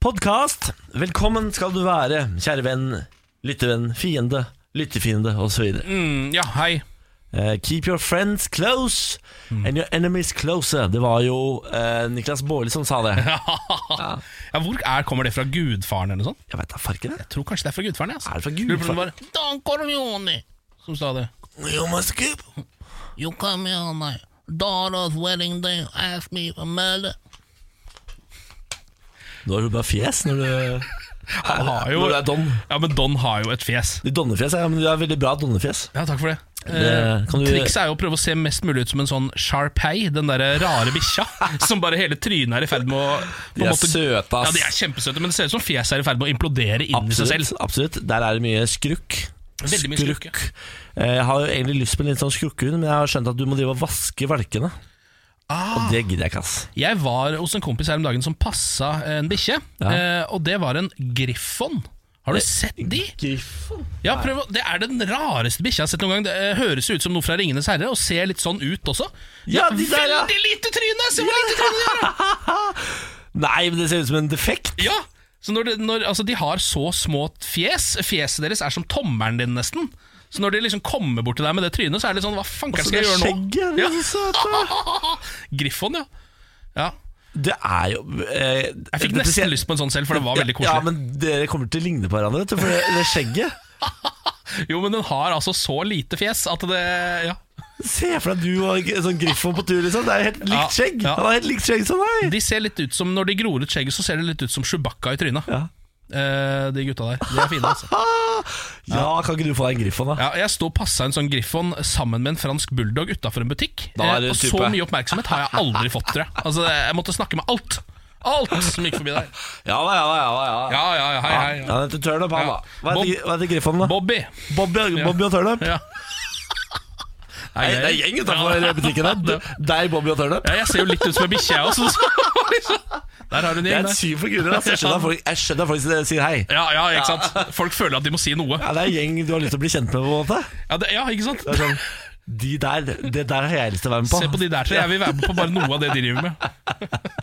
podkast. Velkommen skal du være, kjære venn, lyttevenn, fiende, lyttefiende osv. Mm, ja, hei. Uh, keep your friends close and your enemies closer. Det var jo eh, Niklas Baarli som sa det. Ja, hvor er, Kommer det fra gudfaren eller noe sånt? Jeg veit da farken, jeg. Jeg tror kanskje det er fra gudfaren. jeg, Altså. Er det fra Lurer på om gudfaren? det var Don Corleone som sa det. You must keep You come here on my daughter's wedding day, ask me for murder. Nå har du bare fjes når du, Han har jo når du er don. Ja, men Don har jo et fjes. De donnefjes, ja, men du er veldig bra donnefjes. Ja, takk for det. Det- Eh, kan du- Trikset er jo å prøve å se mest mulig ut som en sånn Sharpei, den derre rare bikkja som bare hele trynet er i ferd med å på De en er måte- søte, ass. Ja, de er kjempesøte, men det ser ut som fjeset er i ferd med å implodere inn i seg Absolutt, selv. absolutt. Der er det mye skrukk. Veldig mye skrukk, Eh, Jeg har jo egentlig lyst på en litt sånn skrukkehund, men jeg har skjønt at du må drive og vaske valkene. Ah. Og det gidder jeg ikke, ass. Jeg var hos en kompis her om dagen som passa en bikkje, Ja. Eh, eh, og det var en griffon. Har du sett de? Griffon? Ja, prøv å, Det er den rareste bikkja jeg har sett noen gang. Det eh, høres ut som noe fra 'Ringenes herre', og ser litt sånn ut også. Ja, de der, ja. Veldig lite tryne! Se hvor lite tryne de har! Nei, men det ser ut som en defekt. Ja, så når, det, når altså, De har så små fjes. Fjeset deres er som tommelen din, nesten. Så når de liksom kommer bort til deg med det trynet, så er det litt sånn Hva fanken Så skal det jeg gjøre nå? skjegget, de er så søte. Griffon, ja. ja. Det er jo eh, Jeg fikk dette nesten ser- lyst på en sånn selv, for det var veldig Ja, koselig. men dere kommer til å ligne på hverandre, vet du, for det, det skjegget. Jo, men den har altså så lite fjes at det Ja. Se for deg du og en sånn Griffon på tur, liksom. Det er helt Ja, likt skjegg. ja. Han har helt likt skjegg som deg. De ser litt ut som, Når de gror ut skjegget, så ser det litt ut som Chewbacca i trynet. Ja. Eh, de gutta der. De er fine, altså. Ah, ja, kan ikke du få deg en Griffon, da? Ja, jeg sto og passa en sånn griffon sammen med en fransk bulldog utafor en butikk. Da er Eh, du og så type. mye oppmerksomhet har jeg aldri fått, tror jeg. Altså, det- jeg måtte snakke med alt. Alt som gikk forbi der. Ja da, ja da. ja da, ja da. Ja, ja, ja, hei, hei. Ja, Ja. dette Turnip, han, Ja. da. Hva heter, hva heter Griffon, da? Bobby. Bobby, Bobby og Turnip? Ja. Nei, det er en gjeng utenfor butikken her. Deg, Bobby og Turnip. Ja, jeg ser jo litt ut som ei bikkje, jeg også. så- liksom. Der har du Det er den et igjen. syv for guller. ass. Jeg skjønner at folk- jeg skjønner at folk sier hei. Ja, ja, ikke sant. Folk føler at de må si noe. Ja, det er en gjeng du har lyst til å bli kjent med, på en måte. Ja, det, ja ikke sant? Det er sånn, de der, det der har jeg lyst til å være med på. Se på de der tre. Jeg vil være med på bare noe av det de driver med.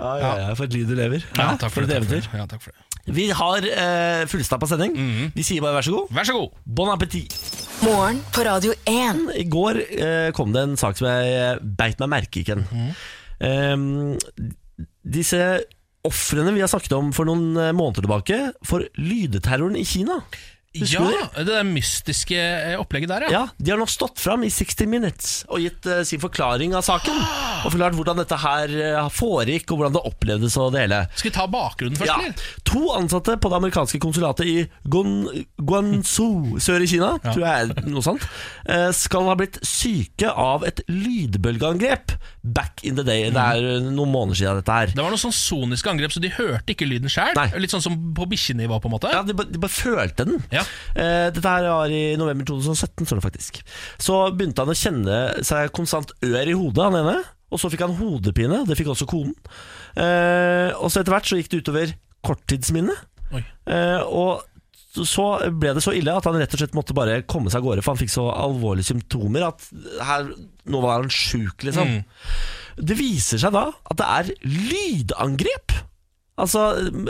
Ja, ja, ja, for et liv du lever. Ja, takk for, et det, takk for eventyr. det. Ja, takk for det. Mhm. Vi har eh, fullstappa sending. Vi sier bare vær så god. Vær så god. Bon appétit. Morgen på Radio 1. I går eh, kom det en sak som jeg eh, beit meg merke i, Ken. Ehm, disse ofrene vi har snakket om for noen eh, måneder tilbake, for lydeterroren i Kina. Husker Ja, du det der mystiske eh, opplegget der, Ja, ja. De har nå stått fram i 60 Minutes og gitt eh, sin forklaring av saken. Og forklart hvordan dette her eh, foregikk, og hvordan det opplevdes og det hele. Skal vi ta bakgrunnen først, Ja. eller? To ansatte på det amerikanske konsulatet i Gon- Guangzhou, sør i Kina, tror jeg er noe sånt, eh, skal ha blitt syke av et lydbølgeangrep back in the day. Det er eh, noen måneder siden dette her. Det var noen sånn soniske angrep, så de hørte ikke lyden sjøl. Nei. Litt sånn som på bikkjenivå, på en måte. Ja, de, ba- de bare følte den. Ja. Eh, dette her var i november 2017, står det faktisk. Så begynte han å kjenne seg konstant ør i hodet, han ene. Og så fikk han hodepine, det fikk også konen. Eh, og så etter hvert så gikk det utover korttidsminnet. Oi. Eh, og så ble det så ille at han rett og slett måtte bare komme seg av gårde, for han fikk så alvorlige symptomer at her, nå var han sjuk, liksom. Mm. Det viser seg da at det er lydangrep. Altså,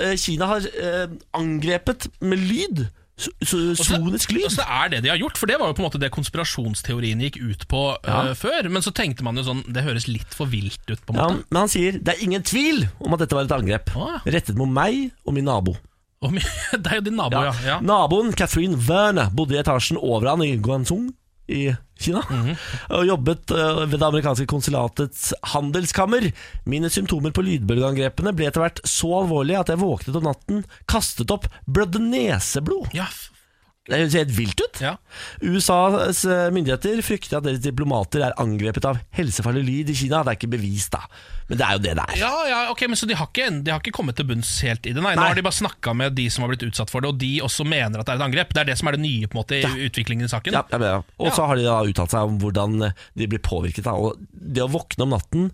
eh, Kina har eh, angrepet med lyd. so- so- så- Sonisk lyd. Så det er det de har gjort, for det var jo på en måte det konspirasjonsteorien gikk ut på eh, før. Men så tenkte man jo sånn, det høres litt for vilt ut, på en Ja, måte. men han sier det er ingen tvil om at dette var et angrep. Ah. Rettet mot meg og min nabo. Og my- det er jo din nabo, ja. ja. Naboen Catherine Werner bodde i etasjen over han i Guangzhou i Kina. Mhm. Og jobbet eh, ved det amerikanske konsulatets handelskammer. Mine symptomer på lydbølgeangrepene ble etter hvert så alvorlige at jeg våknet om natten, kastet opp, blødde neseblod. Ja, f- Det ser helt vilt ut. ja. USAs eh, myndigheter frykter at deres diplomater er angrepet av helsefarlig lyd i Kina. Det er ikke bevist, da. Men det er jo det det er. Ja, ja, ok, men så de har, ikke, de har ikke kommet til bunns helt i det. Nei, Nå Nei. har de bare snakka med de som har blitt utsatt for det, og de også mener at det er et angrep. Det er det som er det nye på en måte i utviklingen i saken. Ja, jeg mener, det. Og så har de da uttalt seg om hvordan eh, de blir påvirket. Da. Og det å våkne om natten,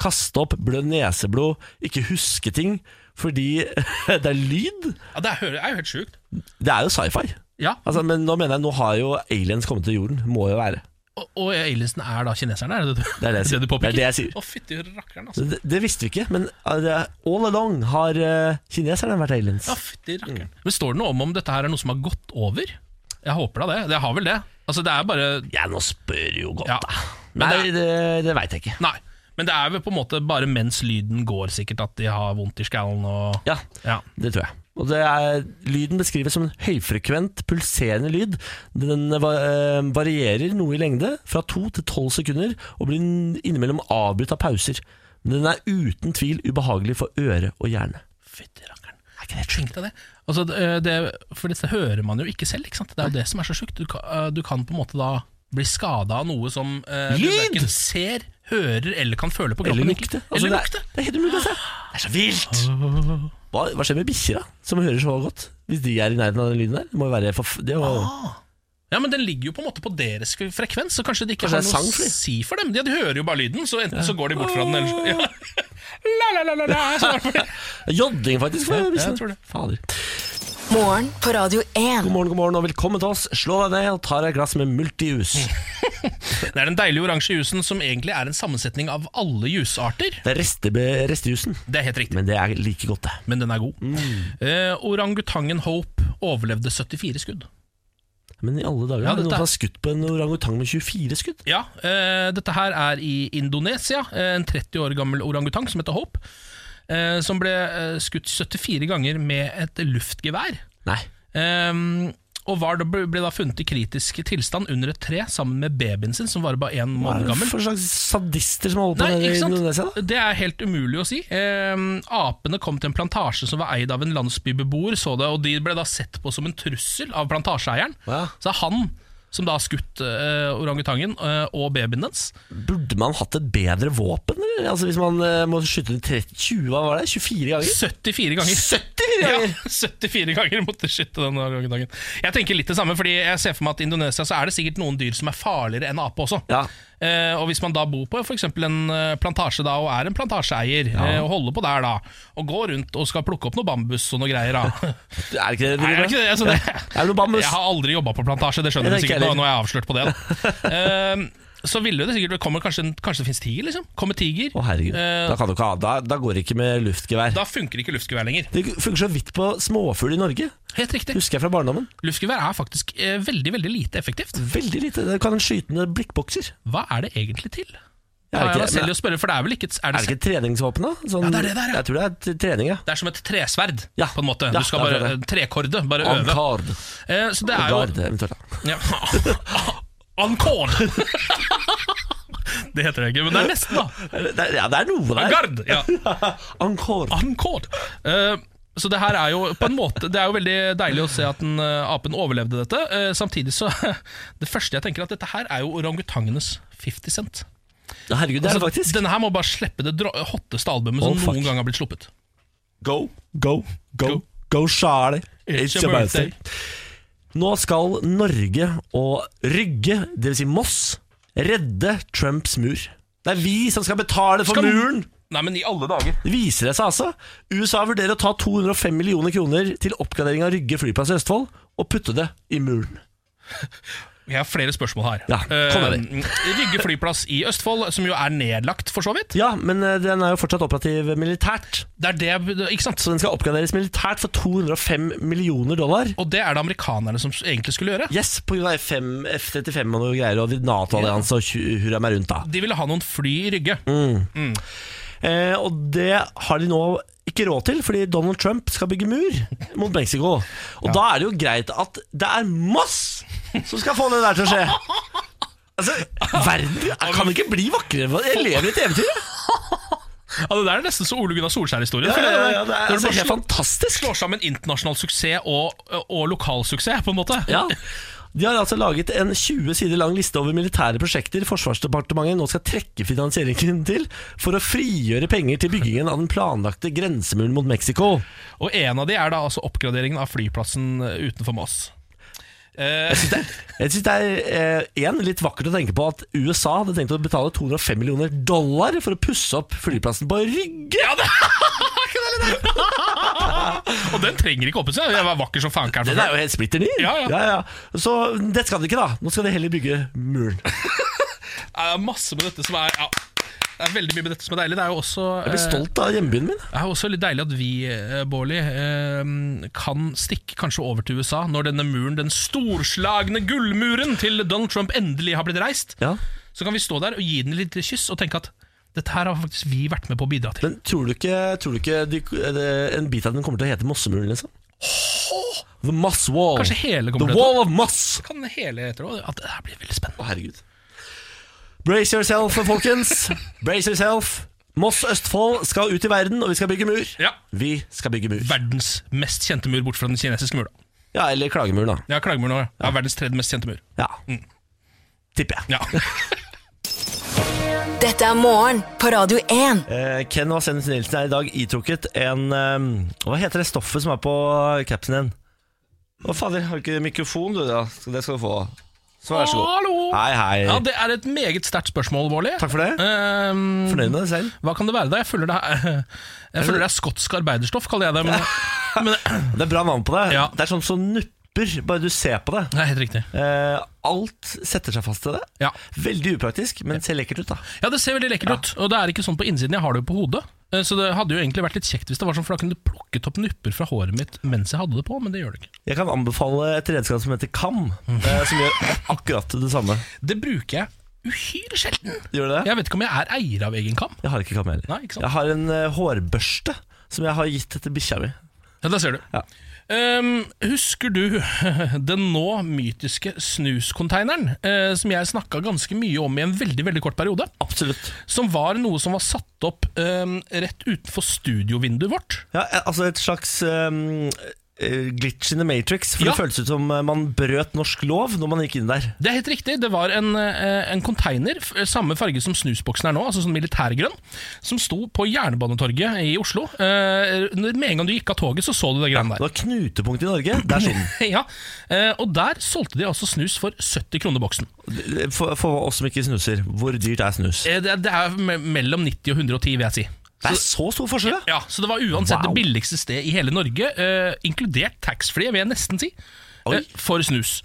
kaste opp, blø neseblod, ikke huske ting fordi det er lyd. Ja, det er, hø- er jo helt sjukt. Det er jo sci-fi. Ja. Altså, men nå mener jeg, nå har jo aliens kommet til jorden. Må jo være. Og, og aliensen er da kineserne, er det det du, Det er det jeg sier. du Det påpeker? er det jeg sier. Å, fytti rakkeren, altså. Det, det visste vi ikke, men eh, det er- all along har eh, kineserne vært aliens. Ja, fytti rakkeren. Mm. Men står det noe om om dette her er noe som har gått over? Jeg håper da det. Det har vel det. Altså, det er bare Ja, nå spør jo godt, Ja. da. Men Nei, det, det veit jeg ikke. Nei. Men det er vel på en måte bare mens lyden går, sikkert, at de har vondt i skallen og Ja, Ja. Det tror jeg. Og det er, Lyden beskrives som en høyfrekvent, pulserende lyd. Den eh, va- eh, varierer noe i lengde, fra to til tolv sekunder, og blir n- innimellom avbrutt av pauser. Men den er uten tvil ubehagelig for øre og hjerne. Fytti rakkeren. Er ikke det Tenk deg det. Altså, det, det, for dette hører man jo ikke selv, ikke sant? Det er jo det som er så sjukt. Du, ka- eh, du kan på en måte da bli skada av noe som eh, du Lyd! verken ser, hører eller kan føle på kroppen. Eller egentlig. lukte. Altså, eller det, lukte. er, det er helt umulig å se. Det er så vilt! Hva, hva skjer med bikkjer, da? Som hører så godt? Hvis de er i nærheten av den lyden der? Det må jo være forf det er jo, Ah. Ja, men den ligger jo på en måte på deres frekvens, så kanskje det ikke Kanskje har det er noe å sang for de? si for dem. Ja, de hører jo bare lyden, så enten så går de bort fra den, eller så ja. La, la, la, la, la, sånn er det. Jodding, faktisk, for Ja, jeg bikkjene. tror det. Fader. Morgen på Radio 1. God morgen, god morgen, og velkommen til oss. Slå deg ned og ta deg et glass med multijus. Det er den deilige oransje jusen som egentlig er en sammensetning av alle jusarter. Det er reste, restejusen. Det er helt riktig, Men det er like godt, det. men den er god. Mm. Eh, orangutangen Hope overlevde 74 skudd. Men i alle dager Ja, er det noen dette som er- har skutt på en orangutang med 24 skudd. Ja, eh, dette her er i Indonesia. eh, En 30 år gammel orangutang som heter Hope. eh, som ble eh, skutt 74 ganger med et luftgevær. Nei. Ehm, og var da, ble da funnet i kritisk tilstand under et tre sammen med babyen sin, som var bare én Hva er måned det gammel. for slags sadister som holder på Nei, med det ikke i sant? Indonesia? da? Det er helt umulig å si. Ehm, apene kom til en plantasje som var eid av en landsbybeboer, så det, og de ble da sett på som en trussel av plantasjeeieren. Ja. Så det er han som da har skutt eh, orangutangen eh, og babyen dens. Burde man hatt et bedre våpen? Eller? Altså Hvis man eh, må skyte den 30, 20, hva var det? 24 ganger? 74 ganger. 74 Ja, ganger! 74 ganger måtte skytte den orangutangen. Jeg tenker litt det samme, fordi jeg ser for meg at i Indonesia så er det sikkert noen dyr som er farligere enn ape også. Ja. Eh, og hvis man da bor på f.eks. en eh, plantasje da, og er en plantasjeeier, eh, og holder på der da, og går rundt og skal plukke opp noe bambus og noe greier da. Er det ikke det? Nei, er det ikke det? Altså, det Er det noe bambus? Jeg har aldri jobba på plantasje, det skjønner Nei, du det er ikke sikkert nå, heller. nå er jeg avslørt på det. Da. Eh, så ville det sikkert det kommer kanskje, en- kanskje det finnes tiger, liksom. Kommer tiger. Å herregud, Eh, da, kan du ikke ha, da, da går det ikke med luftgevær. da funker ikke luftgevær lenger. Det funker så vidt på småfugl i Norge, Helt riktig. husker jeg fra barndommen. Luftgevær er faktisk eh, veldig veldig lite effektivt. Veldig lite. Det kan en skytende blikkbokser. Hva er det egentlig til? Ja, Da er ikke- det selv å spørre, for det er vel ikke et, er Er det, det ikke et treningsvåpen, da? Sånn- Ja, det er det der, ja. Jeg tror det er t- trening, ja. det er som et tresverd, Ja. på en måte. Ja, Du skal det er bare det. trekorde, bare øve. Ankard. Eh, så det er jo Gard, eventuelt. da. ja. Encore! det heter det ikke, men det er nesten, da. Det er, ja, det er noe der. Gard! Ja. Encore. Encore! Eh, så det her er jo på en måte Det er jo veldig deilig å se at den, eh, apen overlevde dette. Eh, samtidig så Det første jeg tenker, er at dette her er jo orangutangenes 50 cent. Ja, Ah, herregud, det er det Altså, faktisk. Denne her må bare slippe det dro- hotteste albumet Oh, som fuck. noen gang har blitt sluppet. Go, go, Go. go, go, Charlie. It's your birthday. Nå skal Norge og Rygge, dvs. Si Moss, redde Trumps mur. Det er vi som skal betale for Skal- muren! Nei, men i alle dager. Det viser det seg altså. USA vurderer å ta 205 millioner kroner til oppgradering av Rygge flyplass i Østfold og putte det i muren. Jeg har flere spørsmål her. Ja, kom med det. Eh, Rygge flyplass i Østfold, som jo er nedlagt, for så vidt. Ja, men eh, den er jo fortsatt operativ militært. Det er det, ikke sant? Så den skal oppgraderes militært for 205 millioner dollar. Og det er det amerikanerne som egentlig skulle gjøre. Yes, på grunn av F5 F-35 og noe greier Og NATO-allianse og tju- hurra meg rundt da De ville ha noen fly i Rygge. Mm. eh, Og det har de nå ikke råd til Fordi Donald Trump skal bygge mur mot Mexico Og da er det jo greit at det er Moss Som skal få det der til å skje Altså, verden kan ikke bli vakrere Jeg lever i et eventyr ja. Ja, Det der er nesten så Ole Gunnar Solskjær-historien. Ja, føler jeg. ja, ja, Det er Når du altså, bare helt slår, fantastisk slår sammen internasjonal suksess og, og lokal suksess, på en måte. Ja de har altså laget en 20 sider lang liste over militære prosjekter Forsvarsdepartementet nå skal trekke finansieringen til for å frigjøre penger til byggingen av den planlagte grensemuren mot Mexico. Og en av de er da altså oppgraderingen av flyplassen eh, utenfor Moss. Eh, Jeg synes det er eh, en, litt vakkert å tenke på at USA hadde tenkt å betale 205 millioner dollar for å pusse opp flyplassen på Rygge. Ja, det Og den trenger ikke oppussing. Jeg var vakker som faen. Karl. Den er jo helt splitter ny. Ja, ja. Så det skal de ikke, da. Nå skal de heller bygge muren. Det er masse med dette som er ja, Det er veldig mye med dette som er deilig. Det er jo også Jeg blir eh, stolt av hjembyen min. det er jo også litt deilig at vi, eh, Bårli, eh, kan stikke kanskje over til USA når denne muren, den storslagne gullmuren til Donald Trump endelig har blitt reist. Ja. Så kan vi stå der og gi den et lite kyss og tenke at dette her har faktisk vi vært med på å bidra til. Men tror du ikke, tror du ikke de, det- en bit av den kommer til å hete Mossemuren, liksom? The Moss Wall. Kanskje hele kommer The til å Wall of Moss. Kan hele etter også, at Det her blir veldig spennende. Å, herregud. Brace yourself, folkens. Brace yourself. Moss Østfold skal ut i verden, og vi skal bygge mur. Ja. Vi skal bygge mur. Verdens mest kjente mur bort fra den kinesiske mura. Ja, eller klagemur, da. Ja, klagemuren også, ja. Ja, verdens tredje mest kjente mur. Ja. Tipper jeg. Mm. Ja. Dette er morgen på Radio 1. Eh, Ken og Sennes Nilsen er i dag itrukket en eh, Hva heter det stoffet som er på capsen din? Å, fader, har du ikke mikrofon, du? da? Så Det skal du få. Så vær så god. Hallo! Hei, hei. Ja, Det er et meget sterkt spørsmål, Bårli. Takk for det. Ehm, Fornøyd med deg selv? Hva kan det være da? Jeg føler det er, jeg føler det er skotsk arbeiderstoff, kaller jeg det. Men, men Det er bra navn på det. Ja. Det er sånn som nupper, bare du ser på det. det er helt riktig. Eh, alt setter seg fast til det. Ja. Veldig upraktisk, men ser lekkert ut, da. ja, det ser veldig lekkert ut. Og det er ikke sånn på innsiden, jeg har det jo på hodet. Eh, Så det hadde jo egentlig vært litt kjekt hvis det var sånn, for da kunne du plukket opp nupper fra håret mitt mens jeg hadde det på, men det gjør du ikke. Jeg kan anbefale et redskap som heter kam, Mm. eh, som gjør akkurat det samme. Det bruker jeg uhyre sjelden. Gjør det det? Jeg vet ikke om jeg er eier av egen kam. Jeg har ikke kam heller. Nei, ikke sant? Jeg har en eh, hårbørste som jeg har gitt til bikkja mi. Ja, der ser du. Ja. Ehm, husker du den nå mytiske snuscontaineren, eh, som jeg snakka ganske mye om i en veldig, veldig kort periode? Absolutt. Som var noe som var satt opp øhm, rett utenfor studiovinduet vårt. Ja, eh, altså et slags ehm, eh, glitch in the matrix. For Ja. det føles ut som eh, man brøt norsk lov når man gikk inn der. Det er helt riktig, det var en, øh, en container, f- samme farge som snusboksen er nå, altså sånn militærgrønn, som sto på Jernbanetorget i Oslo. Eh, når- med en gang du gikk av toget, så så du det greiene Det der. var knutepunkt i Norge. sånn. Der sto den. Ja, eh, Og der solgte de altså snus for 70 kroner boksen. For, for oss som ikke snuser, hvor dyrt er snus? Eh, det, det er me- mellom 90 og 110, vil jeg si. Det er så stor forskjell, ja! Ja, Så det var uansett Wow. det billigste sted i hele Norge, eh, inkludert taxfree, vil jeg nesten si, eh, for snus.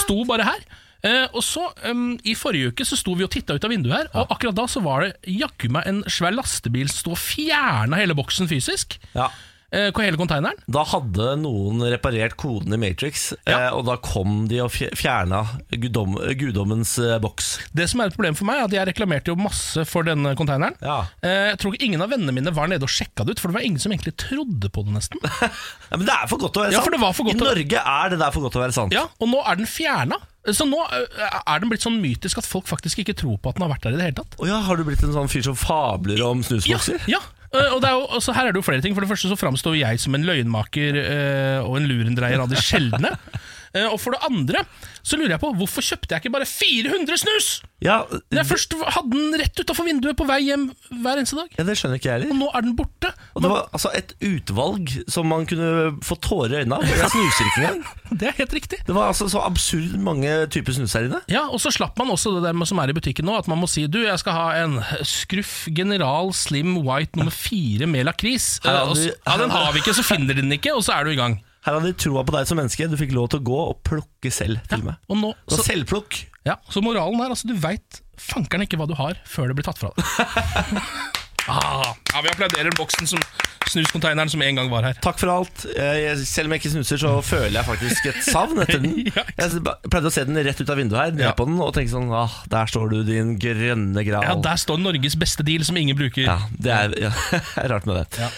Sto bare her. Eh, og så, em, I forrige uke så sto vi og titta ut av vinduet her, og akkurat da så var det jaggu meg en svær lastebil som sto og fjerna hele boksen fysisk. ja. Eh, hele konteineren. Da hadde noen reparert koden i Matrix, eh, og da kom de og fje- fjerna gudom, guddommens eh, boks. Det som er et problem for meg, er at jeg reklamerte jo masse for denne konteineren. Ja. Eh, jeg tror ikke ingen av vennene mine var nede og sjekka det ut, for det var ingen som egentlig trodde på det, nesten. Ja, men det er for godt til å være Ja, sant. for det var for godt I til å- Norge er det der for godt til å være sant. Ja, og nå er den fjerna. Så nå eh, er den blitt sånn mytisk at folk faktisk ikke tror på at den har vært der i det hele tatt. Å ja, har du blitt en sånn fyr som fabler om Ja, snusbokser? ja. Eh, Og det er jo, altså, her er det jo flere ting. For det første så framstår jo jeg som en løgnmaker eh, og en lurendreier av de sjeldne. Eh, og for det andre så lurer jeg på hvorfor kjøpte jeg ikke bare 400 snus Ja, når ja, jeg først hadde den rett utafor vinduet på vei hjem hver eneste dag? det skjønner ikke jeg heller. Og nå er den borte. Og det var altså et utvalg som man kunne få tårer i øynene av. Jeg snuser ikke engang. Det er helt riktig. Det var altså så absurd mange typer snus her inne. Ja, og så slapp man også det der med, som er i butikken nå, at man må si du, jeg skal ha en Scruff General Slim White nummer fire med lakris. Her Eh, har og vi- så- Ja, den har vi ikke, så finner de den ikke, og så er du i gang. Her hadde de troa på deg som menneske. Du fikk lov til å gå og plukke selv. til og med. Og nå, Så så, selvplukk. ja, så moralen er altså, du veit fankeren ikke hva du har før det blir tatt fra deg. ah, ja, vi applauderer boksen som snuscontaineren som en gang var her. Takk for alt. Eh, jeg- Selv om jeg ikke snuser, så føler jeg faktisk et savn etter den. Ja, Jeg pleide å se den rett ut av vinduet her, ned Ja. på den, og tenke sånn ah, Der står du, din grønne gral. Ja, Der står Norges beste deal som ingen bruker. Ja, det er ja, rart med det. Ja.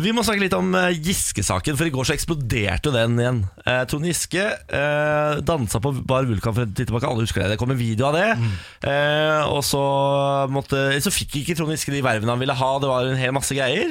Vi må snakke litt om eh, Giske-saken, for i går så eksploderte den igjen. Eh, Trond Giske eh, dansa på Bar Vulkan for en tid tilbake, alle husker det. Det kom en video av det. Eh, og så, måtte, så fikk ikke Trond Giske de vervene han ville ha, det var en hel masse greier.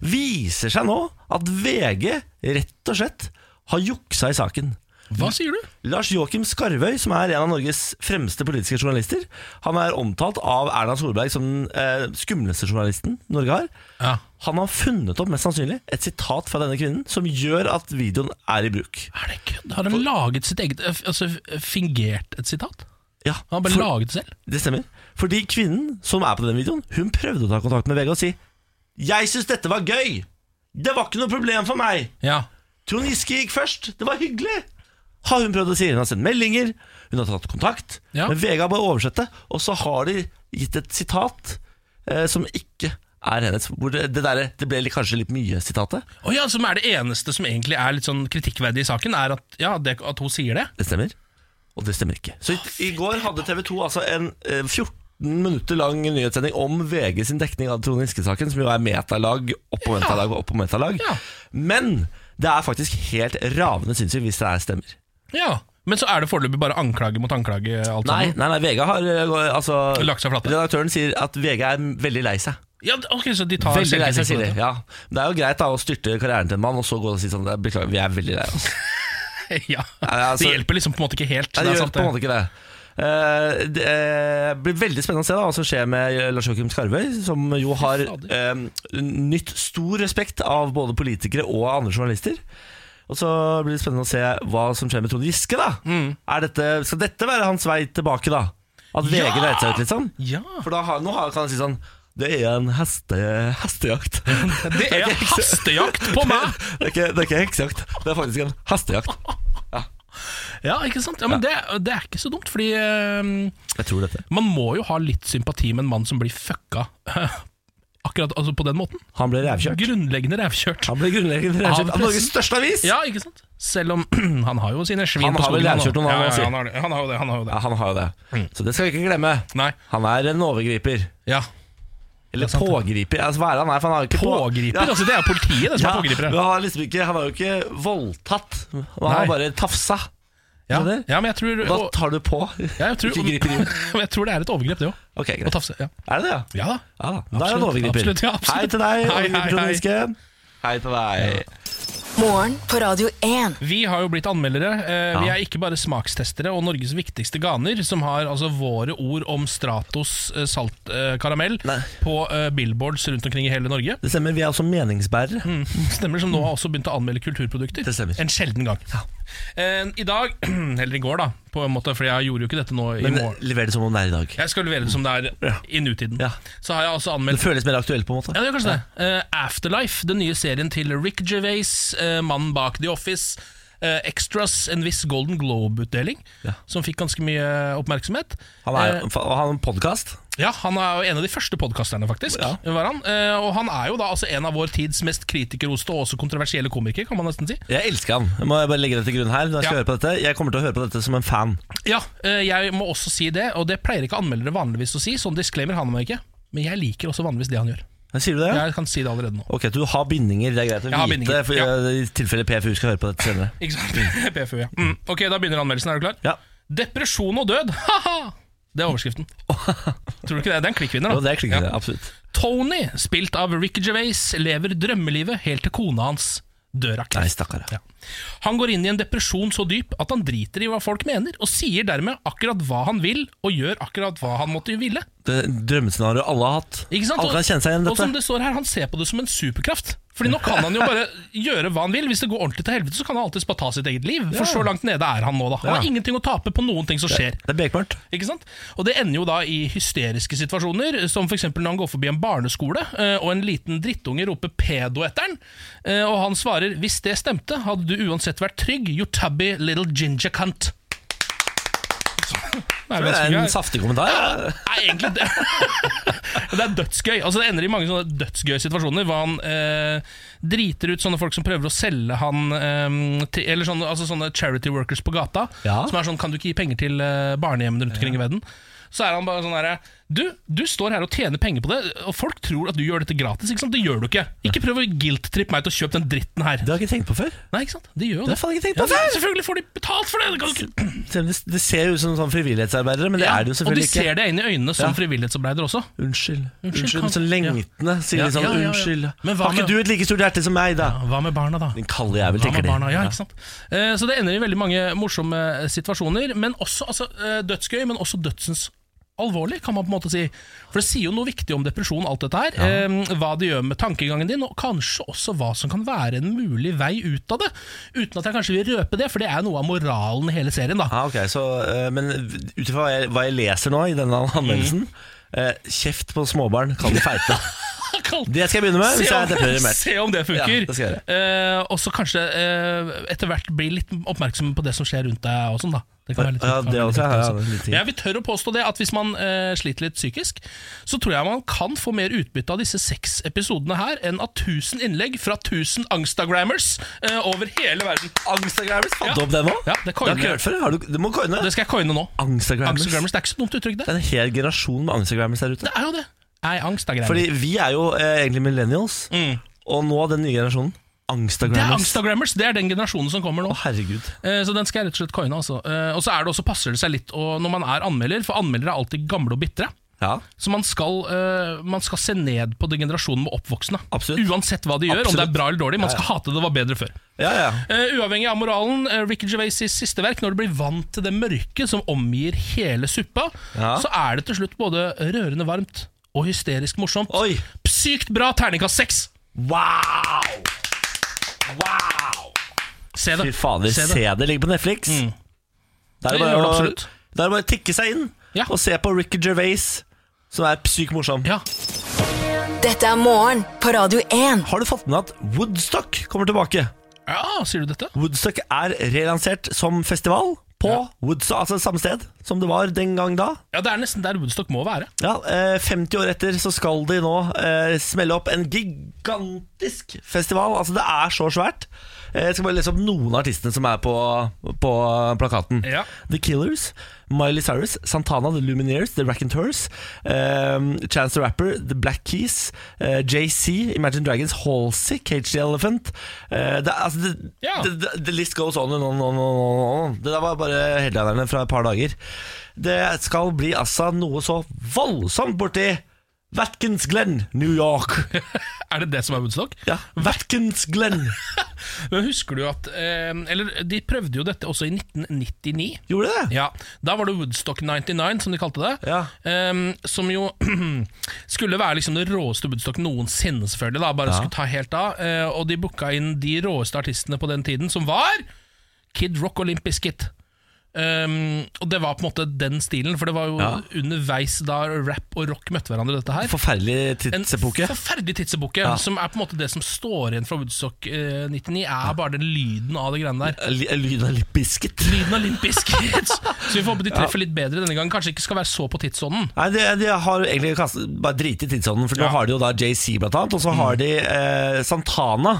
Viser seg nå at VG rett og slett har juksa i saken. Hva sier du? Lars Joakim Skarvøy, som er en av Norges fremste politiske journalister, han er omtalt av Erna Solberg som den eh, skumleste journalisten Norge har. Ja. Han har funnet opp mest sannsynlig et sitat fra denne kvinnen som gjør at videoen er i bruk. Er det kødd? Har han laget sitt eget Altså fingert et sitat? Ja, Har han bare for, laget det selv? Det stemmer. Fordi kvinnen som er på denne videoen, hun prøvde å ta kontakt med VG og si Jeg syns dette var gøy! Det var ikke noe problem for meg! Ja Trond Giske gikk først! Det var hyggelig! har hun prøvd å si. Hun har sendt meldinger, hun har tatt kontakt. Ja. Men VG har bare oversett det, og så har de gitt et sitat eh, som ikke er hennes. Hvor det, det, der, det ble litt- kanskje litt mye sitatet. Å ja, som er det eneste som egentlig er litt sånn kritikkverdig i saken, er at, ja, det, at hun sier det. Det stemmer. Og det stemmer ikke. Så i, i går hadde TV 2 altså en eh, 14 minutter lang nyhetssending om VG sin dekning av Trond Giske-saken, som jo er metalag opp og metalag og opp og metalag. Ja. Men det er faktisk helt ravende sinnssykt hvis det er stemmer. Ja, Men så er det foreløpig bare anklage mot anklage. alt Nei, sammen. nei, nei VG har eh, altså, Lagt seg flate. Redaktøren sier at VG er veldig lei seg. Ja, ok, så de tar Veldig lei seg, selvkritikk på sier de. dette. Ja. Det er jo greit da å styrte karrieren til en mann, og så gå og si sånn "Jeg Beklager, vi er veldig lei oss. ja, ja. altså- det hjelper liksom på en måte ikke helt. Nei, det det er gjør sant, på en måte ikke det. Eh, det eh, blir veldig spennende å se da, hva som skjer med Lars Joakim Skarvøy, som jo har fader. eh, nytt stor respekt av både politikere og andre journalister. Og så blir det spennende å se hva som skjer med Trond Giske. da Mm. er dette, Skal dette være hans vei tilbake, da? At VG Ja! dreit seg ut, liksom? Ja. For da har, nå har, kan han si sånn Det er en heste, hestejakt. Det er hastejakt på meg! Det er, ikke, det er ikke heksejakt, det er faktisk en hestejakt. Ja, ikke sant? Ja, men det, det er ikke så dumt, fordi eh, Jeg tror dette. man må jo ha litt sympati med en mann som blir fucka akkurat altså på den måten. Han ble rævkjørt. Grunnleggende rævkjørt. Han ble grunnleggende Av rævkjørt av pressen. Norges største avis! Ja, ikke sant? Selv om han har jo sine svin Han på har vel skogen. rævkjørt noen, ja, han ja, også. ja, han, har det, han har jo det. Han har jo det. Ja, han har jo det. Mm. Så det skal vi ikke glemme. Nei, Han er en overgriper. ja. Eller Det er sant, det. pågriper. Altså, hva er det han er? For han har jo ikke på- Pågriper, Ja. altså det er jo politiet det som Ja, er pågripere. men han, har liksom ikke, han har jo ikke voldtatt, han Nei. har bare tafsa. Ja, Skjønner? ja, men jeg tror, Da og, tar du på. ja, jeg, tror Ikke griper inn. men jeg tror det er et overgrep, det òg. Ok, Å greit. tafse. Ja. Er det det, ja? ja da. Ja da. Da er han Absolutt, overgriper. absolutt, ja, absolutt. Hei til deg, Hei, hei, overgriper hei. Trond Giske. Hei til deg. Morgen på Radio 1. Vi har jo blitt anmeldere. Eh, Vi Ja. er ikke bare smakstestere og Norges viktigste ganer, som har altså våre ord om Stratos eh, saltkaramell Nei. på eh, billboards rundt omkring i hele Norge. Det stemmer, vi er også meningsbærere. Mm. Stemmer som nå har også begynt å anmelde kulturprodukter. Det stemmer. En sjelden gang. Eh, I dag, eller i går, da, på en måte, for jeg gjorde jo ikke dette nå i Men eh, morgen. lever det som om det er i dag. Jeg skal levere det som det er i nutiden. Ja. Så har jeg altså Det anmeldt føles mer aktuelt, på en måte. Ja, det gjør kanskje det. Eh, Afterlife, den nye serien til Rick Gervais, eh, mannen bak The Office. eh, Extras, en viss Golden Globe-utdeling, Ja. som fikk ganske mye oppmerksomhet. Han er Eh, og han podkast. ja, han er jo en av de første podkasterne, faktisk. Ja. Var han. Eh, og han er jo da altså en av vår tids mest kritikerroste og også kontroversielle komiker, kan man nesten si. Jeg elsker han. Jeg må bare legge det til grunn her. Når jeg skal Ja. høre på dette Jeg kommer til å høre på dette som en fan. Ja, eh, jeg må også si det, og det pleier ikke anmeldere vanligvis å si. Sånn disclaimer han meg ikke. Men jeg liker også vanligvis det han gjør. Men Sier du det? Jeg kan si det allerede nå. Ok, du har bindinger, det er greit å har vite bindinger, for, ja. eh, i tilfelle PFU skal høre på dette senere. Ikke sant? PFU, ja. Mm. Ok, da begynner anmeldelsen. Er du klar? Ja, Depresjon og død, haha! Det er overskriften. Tror du ikke det? Det er en klikkvinner, jo, da. det klinger det, Ja. absolutt. Tony, spilt av Ricky Gervais, lever drømmelivet helt til kona hans dør av Nei, kreft. stakkar. Ja. Han går inn i en depresjon så dyp at han driter i hva folk mener, og sier dermed akkurat hva han vil, og gjør akkurat hva han måtte ville. Det er drømmescenarioet alle har hatt. Ikke sant? Alle kan kjenne seg igjen i Og som dette. det står her, han ser på det som en superkraft. Fordi nå kan han jo bare gjøre hva han vil. Hvis det går ordentlig til helvete, så kan han alltids bare ta sitt eget liv. For så langt nede er han nå, da. Han har Ja. ingenting å tape på noen ting som skjer. Det er bekmørkt. Ikke sant? Og det ender jo da i hysteriske situasjoner, som f.eks. når han går forbi en barneskole, eh, og en liten drittunge roper 'pedo' etter han, eh, og han svarer 'hvis det stemte, hadde du uansett vært trygg, you tubby little ginger cunt'. Det er, Det ganske er en gøy. saftig kommentar. Nei, egentlig det. det er dødsgøy. Altså Det ender i mange sånne dødsgøye situasjoner hvor han eh, driter ut sånne folk som prøver å selge han eh, til, Eller sånne, altså sånne charity workers på gata. Ja. Som er sånn 'kan du ikke gi penger til eh, barnehjemmene rundt omkring i verden'? Så er han bare sånn herre du, du står her og tjener penger på det, og folk tror at du gjør dette gratis. ikke sant? Det gjør du ikke. Ikke prøv å guilt-trippe meg til å kjøpe den dritten her. Det har jeg ikke tenkt på før. Nei, ikke sant? De gjør jo Det har det. jeg faen ikke tenkt Ja, på før! selvfølgelig får de betalt for det! det kan du ikke... Selv om det- Det ser jo ut som sånn frivillighetsarbeidere, men det Ja, er det jo og de selvfølgelig ikke. ser det inn i øynene som Ja. frivillighetsarbeider også. Unnskyld. Unnskyld, Unnskyld. kan- Sånn lengtende sier Ja, de sånn. ja, ja, ja. Unnskyld. Men hva Har med- ikke du et like stort hjerte som meg, da? Hva med barna, da? Den kalde jævel, Hva tenker de. med barna? Ja, ikke sant? Eh, Så det ender i veldig mange morsomme eh, situasjoner. Men også altså, eh, dødsgøy, men også dødsens alvorlig, kan man på en måte si. For det sier jo noe viktig om depresjon, alt dette her. Eh, Hva det gjør med tankegangen din, og kanskje også hva som kan være en mulig vei ut av det. Uten at jeg kanskje vil røpe det, for det er noe av moralen i hele serien, da. Ja, ok, så, eh, Men ut Mm. ifra hva, jeg- hva jeg leser nå i denne anmeldelsen eh, Kjeft på småbarn kan feite. kaldt. Det skal jeg begynne med hvis jeg er deprimert. se om det funker. Ja, det skal jeg gjøre. Eh, og så kanskje eh, etter hvert bli litt oppmerksom på det som skjer rundt deg. og sånn da det kan være litt, Ja, kan det være også, litt ja, godt ja, det er litt ting. Men Jeg vil tørre å påstå det at hvis man eh, sliter litt psykisk, så tror jeg man kan få mer utbytte av disse seks episodene her enn av 1000 innlegg fra 1000 angstagrammers eh, over hele verden. Angstagrammers, fant du Ja. opp det nå? Ja, det har coiner jeg ikke jeg. hørt før. Har du, du må coine. Det skal jeg coine nå. Angstagrammers. Angstagrammers, Det er ikke så dumt uttrykk, Det det. er en hel generasjon med angstagrammers der ute. Det er jo det. Nei, angstagrammers. Fordi vi er jo eh, egentlig millennials, og nå den nye generasjonen det er angstagrammers. angstagrammers, det er den generasjonen som kommer nå. Å, herregud. Eh, Så den skal jeg rett og slett coine. Altså. Eh, Og så er det også, passer det seg litt å, når man er anmelder, for anmeldere er alltid gamle og bitre. Ja. Så man skal, eh, man skal se ned på den generasjonen med oppvoksende. Absolutt. Uansett hva de gjør, om det Absolutt. er bra eller dårlig. Man skal hate det var bedre før. Ja, ja. Eh, uavhengig av moralen, eh, Ricky Gervais' siste verk, når du blir vant til det mørke som omgir hele suppa, Ja. så er det til slutt både rørende varmt og hysterisk morsomt. Oi. Sykt bra terningkast seks! Wow! Wow! Se det. Fy fader, se Se det, det. Mm. ligger på Netflix. Da er Det gjør det absolutt. da er det bare å tikke seg inn Ja. og se på Ricky Gervais, som er sykt morsom. Ja. Dette er morgen på Radio 1. Har du fått med at Woodstock kommer tilbake? ja, sier du dette? Woodstock er relansert som festival på Ja. Woodstock, altså samme sted som det var den gang da. Ja, Det er nesten der Woodstock må være. Ja, eh, 50 år etter så skal de nå eh, smelle opp en gigantisk festival. Altså, det er så svært. Eh, jeg skal bare lese opp noen av artistene som er på, på plakaten. Ja. The Killers, Miley Cyrus, Santana, The Lumineers, The Raconteurs, eh, Chance the Rapper, The Black Keys, eh, JC, Imagine Dragons, Halsey, Cage the Elephant eh, det, er- altså, det, Ja. det, the, the list goes on and on, on, on, on, on. Det der var bare headlinerne fra et par dager. Det skal bli altså noe så voldsomt borti Watkins Glen, New York. Er det det som er Woodstock? Ja, Watkins Glen. Men husker du at eh, Eller de prøvde jo dette også i 1999. Gjorde det det? Ja, Da var det Woodstock 99, som de kalte det. Ja. Ehm, som jo skulle være liksom det råeste Woodstock noensinne, selvfølgelig. da Bare skulle ta helt av. Eh, og de booka inn de råeste artistene på den tiden, som var Kid Rock og Limp Bizkit. Ehm, og det var på en måte den stilen, for det var jo Ja. underveis da rap og rock møtte hverandre. dette her Forferdelig En tidsepoke. forferdelig tidsepoke, som er på en måte det som står igjen fra Woodstock eh, 99, er bare den lyden av det greiene der. L- Lyden av litt biscuit. Lyden av Limp Bizkit. Så vi får håpe de treffer litt bedre denne gangen. Kanskje ikke skal være så på tidsånden. Nei, de, de har egentlig kastet, bare driti i tidsånden, for nå Ja. har de jo da JC blant annet, og så har de eh, Santana,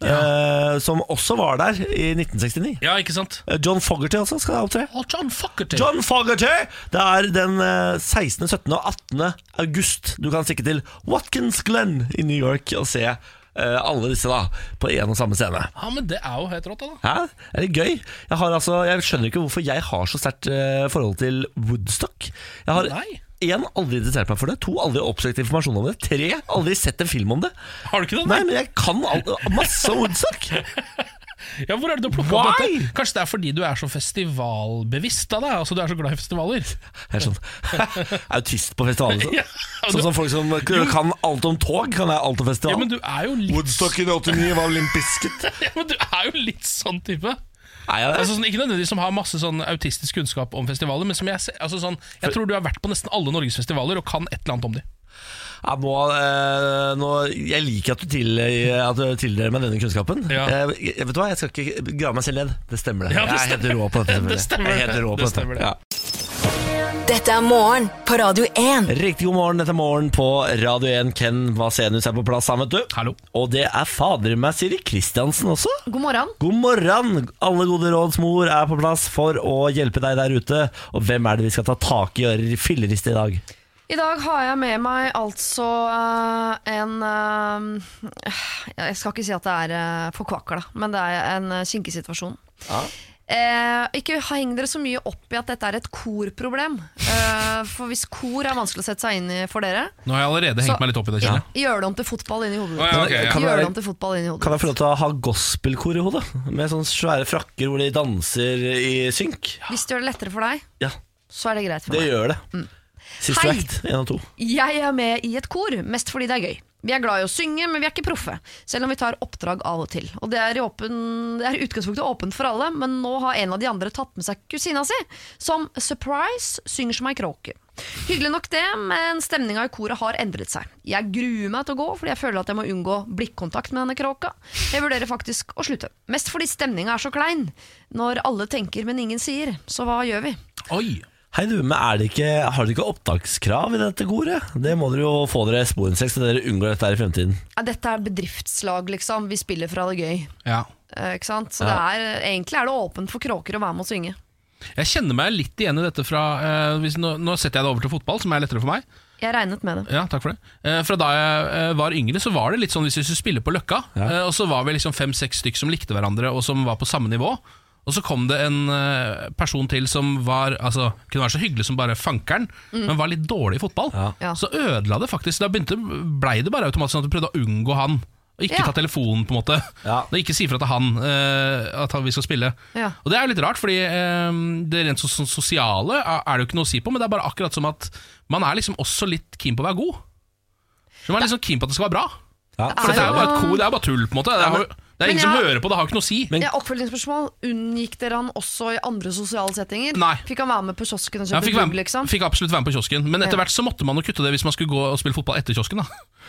eh, som også var der i 1969. Ja, ikke sant? Eh, John Fogerty også skal opptre. Å, John Fuckerty! John Fogerty! Det er den eh, 16., 17. og 18. august du kan stikke til Watkins Glen i New York og se eh, alle disse da, på én og samme scene. Ja, men det er jo helt rått, da. Hæ? Er det gøy? Jeg, har altså, jeg skjønner ikke hvorfor jeg har så sterkt eh, forhold til Woodstock. Jeg har Nei. én aldri interessert meg for det, to aldri oppsøkt informasjon om det, tre aldri sett en film om det. Har du ikke det? Nei, men jeg kan al masse om Woodstock! Ja, Hvor er det du har plukket opp Why? dette? Kanskje det er fordi du er så festivalbevisst av deg? Altså, du er så glad i festivaler? Jeg er sånn autist på festivaler. Sånn. Ja, og sånn du- som folk som kan alt om tog, kan jeg alt om festival. Ja, men du er jo litt, Woodstock i 89 var olympisket. ja, men du er jo litt sånn type. Er jeg det? Altså, sånn, ikke nødvendigvis som har masse sånn autistisk kunnskap om festivaler, men som jeg, ser- altså, sånn, jeg tror du har vært på nesten alle Norges festivaler og kan et eller annet om dem. Jeg, må, eh, nå, jeg liker at du, til, eh, at du tildeler meg denne kunnskapen. Ja. Eh, jeg, vet du hva, jeg skal ikke grave meg selv ned. Det stemmer, det. Ja, det Jeg er helt rå på dette. Det selvfølgelig. stemmer Jeg er helt det. rå på Det dette. stemmer det. Ja. Dette er morgen på Radio 1. Riktig god morgen dette er morgen på Radio 1. Ken Vasenus er på plass, han, vet du. Hallo. Og det er fader meg Siri Kristiansen også. God morgen. God morgen! Alle gode råds mor er på plass for å hjelpe deg der ute. Og hvem er det vi skal ta tak i og gjøre filleriste i dag? I dag har jeg med meg altså eh, en eh, Jeg skal ikke si at det er eh, forkvakla, men det er en eh, kinkesituasjon. Eh, ikke heng dere så mye opp i at dette er et korproblem. Eh, for hvis kor er vanskelig å sette seg inn i for dere, Nå har jeg allerede hengt Så- meg litt opp i det, ja. kjenner jeg. gjør det om til fotball inni Å, hodet ja, ok, ja. Kan Gjør det være- det om til fotball inni hodet Kan jeg få lov til å ha gospelkor i hodet? Med sånne svære frakker hvor de danser i synk? Hvis det gjør det lettere for deg, Ja, så er det greit for det meg. gjør det. Mm. Siste Hei! vekt, én og to. Jeg er med i et kor, mest fordi det er gøy. Vi er glad i å synge, men vi er ikke proffe, selv om vi tar oppdrag av og til. Og det er i åpen- det er i utgangspunktet åpent for alle, men nå har en av de andre tatt med seg kusina si, som surprise synger som ei kråke. Hyggelig nok det, men stemninga i koret har endret seg. Jeg gruer meg til å gå, fordi jeg føler at jeg må unngå blikkontakt med denne kråka. Jeg vurderer faktisk å slutte. Mest fordi stemninga er så klein. Når alle tenker, men ingen sier. Så hva gjør vi? Oi! Hei du, men er det ikke, Har dere ikke opptakskrav i dette koret? Det må dere jo få dere sporenstreks, så dere unngår dette her i fremtiden. Ja, dette er bedriftslag, liksom. Vi spiller for å ha det gøy. Ja. Eh, Ikke sant? Så det er, egentlig er det åpent for kråker å være med og synge. Jeg kjenner meg litt igjen i dette fra eh, hvis, nå, nå setter jeg det over til fotball, som er lettere for meg. Jeg regnet med det. Ja, takk for det. Eh, fra da jeg eh, var yngre, så var det litt sånn hvis vi skulle spille på Løkka, eh, og så var vi liksom fem-seks stykk som likte hverandre, og som var på samme nivå. Og så kom det en eh, person til som var Altså, kunne være så hyggelig som bare fankeren, men var litt dårlig i fotball. Ja. Så ødela det faktisk. Da begynte, blei det bare automatisk sånn at du prøvde å unngå han. Og ikke Ja. ta telefonen, på en måte. Ja. Og ikke si fra til han eh, at han- vi skal spille. Ja. Og det er jo litt rart, fordi eh, det rent so- so- sosiale er er det jo ikke noe å si på, men det er bare akkurat som at man er liksom også litt keen på å være god. Så man er liksom keen på at det skal være bra. Ja. For det er jo bare et kor, det er bare tull, på en måte. Det er, jo- det er men ingen som jeg- hører på, det har jo ikke noe å si. Men- Ja, oppfølgingsspørsmål. Unngikk dere han også i andre sosiale settinger? Nei. Fikk han være med på kiosken og Ja, kjøpe fikk, ja, være, gull, liksom? fikk absolutt være med på kiosken, men etter Ja. hvert så måtte man jo kutte det hvis man skulle gå og spille fotball etter kiosken. da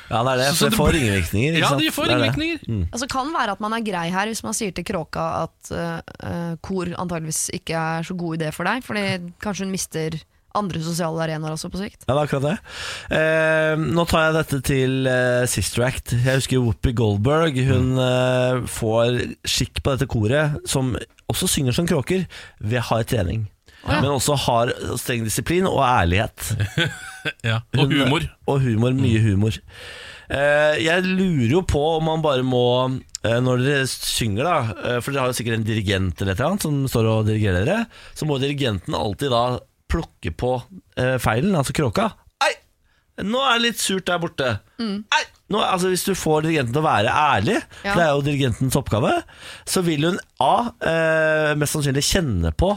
Ja, det er det. Så- så For det det får blir- ringvirkninger. ikke Ja, sant? de får Det er det. Mm. ringvirkninger. Altså, kan være at man er grei her hvis man sier til kråka at eh, eh, kor antageligvis ikke er så god idé for deg, fordi kanskje hun mister andre sosiale arenaer også på sikt. Ja, det er akkurat det. Eh, nå tar jeg dette til eh, Sister Act. Jeg husker Whoopi Goldberg. Hun eh, får skikk på dette koret, som også synger som kråker, ved hard trening. Men også har streng disiplin og ærlighet. Ja. Og Hun- humor. Mm. Og humor, Mye humor. Eh, jeg lurer jo på om man bare må eh, når dere synger, da eh, for dere har jo sikkert en dirigent eller et eller annet som står og dirigerer dere, så må dirigenten alltid da plukke på eh, feilen, altså kråka. Ei, nå er det litt surt der borte. Ei, nå, altså Hvis du får dirigenten til å være ærlig, Ja. for det er jo dirigentens oppgave, så vil hun A eh, mest sannsynlig kjenne på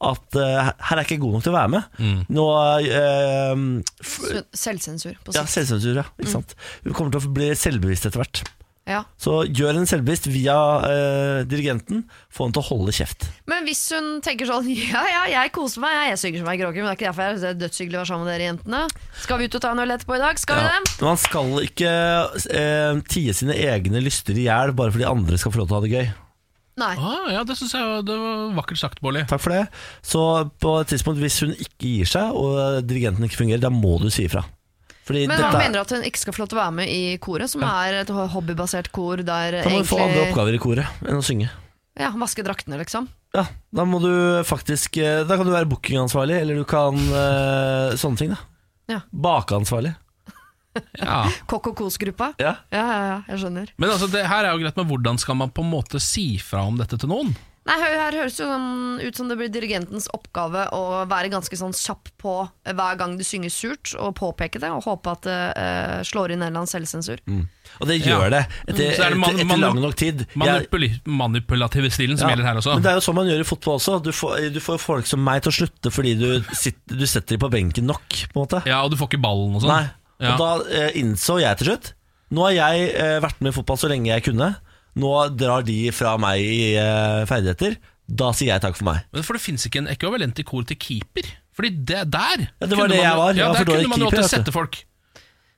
at eh, her er jeg ikke god nok til å være med. Mm. Nå eh, f Så Selvsensur på ja, sikt. selvsensur, ja. Mm. Ikke sant? Hun kommer til å bli selvbevisst etter hvert. Ja. Så gjør en selvbevisst via eh, dirigenten. Få henne til å holde kjeft. Men hvis hun tenker sånn Ja, ja, jeg koser meg, jeg, jeg synger som ei kråke, men det er ikke derfor jeg synes det er dødshyggelig å være sammen med dere jentene. Skal vi ut og ta en øl etterpå i dag? Skal vi Ja. det? Men Man skal ikke eh, tie sine egne lyster i hjel bare fordi andre skal få lov til å ha det gøy. Nei. Ah, ja, det syns jeg var- det var vakkert sagt, Bårli. Takk for det. Så på et tidspunkt, hvis hun ikke gir seg, og dirigenten ikke fungerer, da må du si ifra. Fordi Men dette han er- mener at hun ikke skal få lov til å være med i koret, som er et hobbybasert kor der da må du få andre egentlig oppgaver i koret enn å synge. ja, Vaske draktene, liksom. Ja, Da må du faktisk eh, Da kan du være bookingansvarlig, eller du kan eh, sånne ting. da Ja. Bakeansvarlig. Ja. Kokk og kos-gruppa. Ja. Ja, ja, ja, jeg skjønner. Men altså, det her er jo greit, men hvordan skal man på en måte si fra om dette til noen? Nei, hø- Her høres det jo sånn ut som det blir dirigentens oppgave å være ganske sånn kjapp på hver gang du synger surt, og påpeke det, og håpe at det eh, slår inn en eller annen selvsensur. Og det gjør Ja. Mm. det. Etter, Så er det man- etter, etter man- lang nok tid. Jeg- Manipuli manipulative stilen som ja. gjelder her også. Men det er jo sånn man gjør i fotball også. Du får, du får folk som meg til å slutte fordi du, sitter, du setter dem på benken nok, på en måte. Ja, og du får ikke ballen og sånn. Nei. Ja. Og da eh, innså jeg til slutt Nå har jeg eh, vært med i fotball så lenge jeg kunne. Nå drar de fra meg i eh, ferdigheter. Da sier jeg takk for meg. Men for det fins ikke en ekvivalent i kor til keeper. Fordi det der Ja, det var det kunne man, jeg var. Jeg Ja, var for Der dårlig kunne man jo keeper, vet alltid du. sette folk.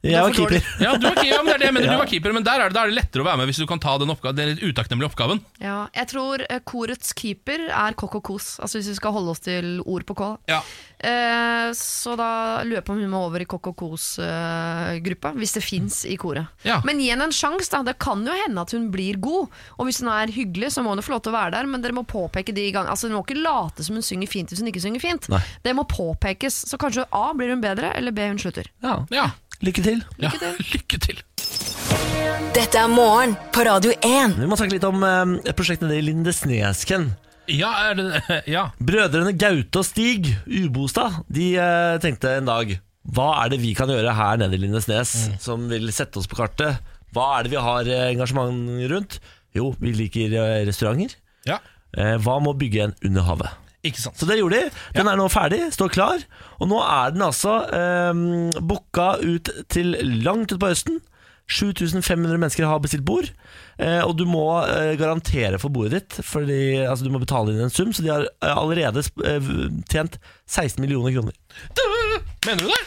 Jeg var for dårlig. keeper. Ja, du var, ke- ja, men det er det jeg mener, Ja. du var keeper, men der er det, da er det lettere å være med hvis du kan ta den oppgaven, den litt utakknemlige oppgaven. Ja, jeg tror eh, korets keeper er kokk og kos, altså hvis vi skal holde oss til ord på K. da. Ja. Eh, så da lurer jeg på om vi må over i kokk og kos-gruppa, hvis det fins i koret. Ja. Men gi henne en sjanse, da. Det kan jo hende at hun blir god. Og hvis hun er hyggelig, så må hun jo få lov til å være der, men dere må påpeke de gang Altså, hun må ikke late som hun synger fint hvis hun ikke synger fint. Nei. Det må påpekes. Så kanskje A blir hun bedre, eller B hun slutter. Ja. Ja. Lykke til. Lykke til. Ja, lykke til. Dette er morgen på Radio 1. Vi må snakke litt om eh, et prosjekt nede i Lindesnes, Ken. Ja, er det, ja. Brødrene Gaute og Stig Ubostad De eh, tenkte en dag Hva er det vi kan gjøre her nede i Lindesnes Som vil sette oss på kartet Hva er det vi har eh, engasjement rundt Jo, vi liker eh, restauranter ja. eh, Hva må bygge en under havet Ikke sant. så det gjorde de. Den er nå ferdig, står klar. Og nå er den altså eh, booka ut til langt utpå høsten. 7500 mennesker har bestilt bord, eh, og du må eh, garantere for bordet ditt. Fordi altså, Du må betale inn en sum, så de har eh, allerede sp- eh, tjent 16 millioner kroner. Mener du det?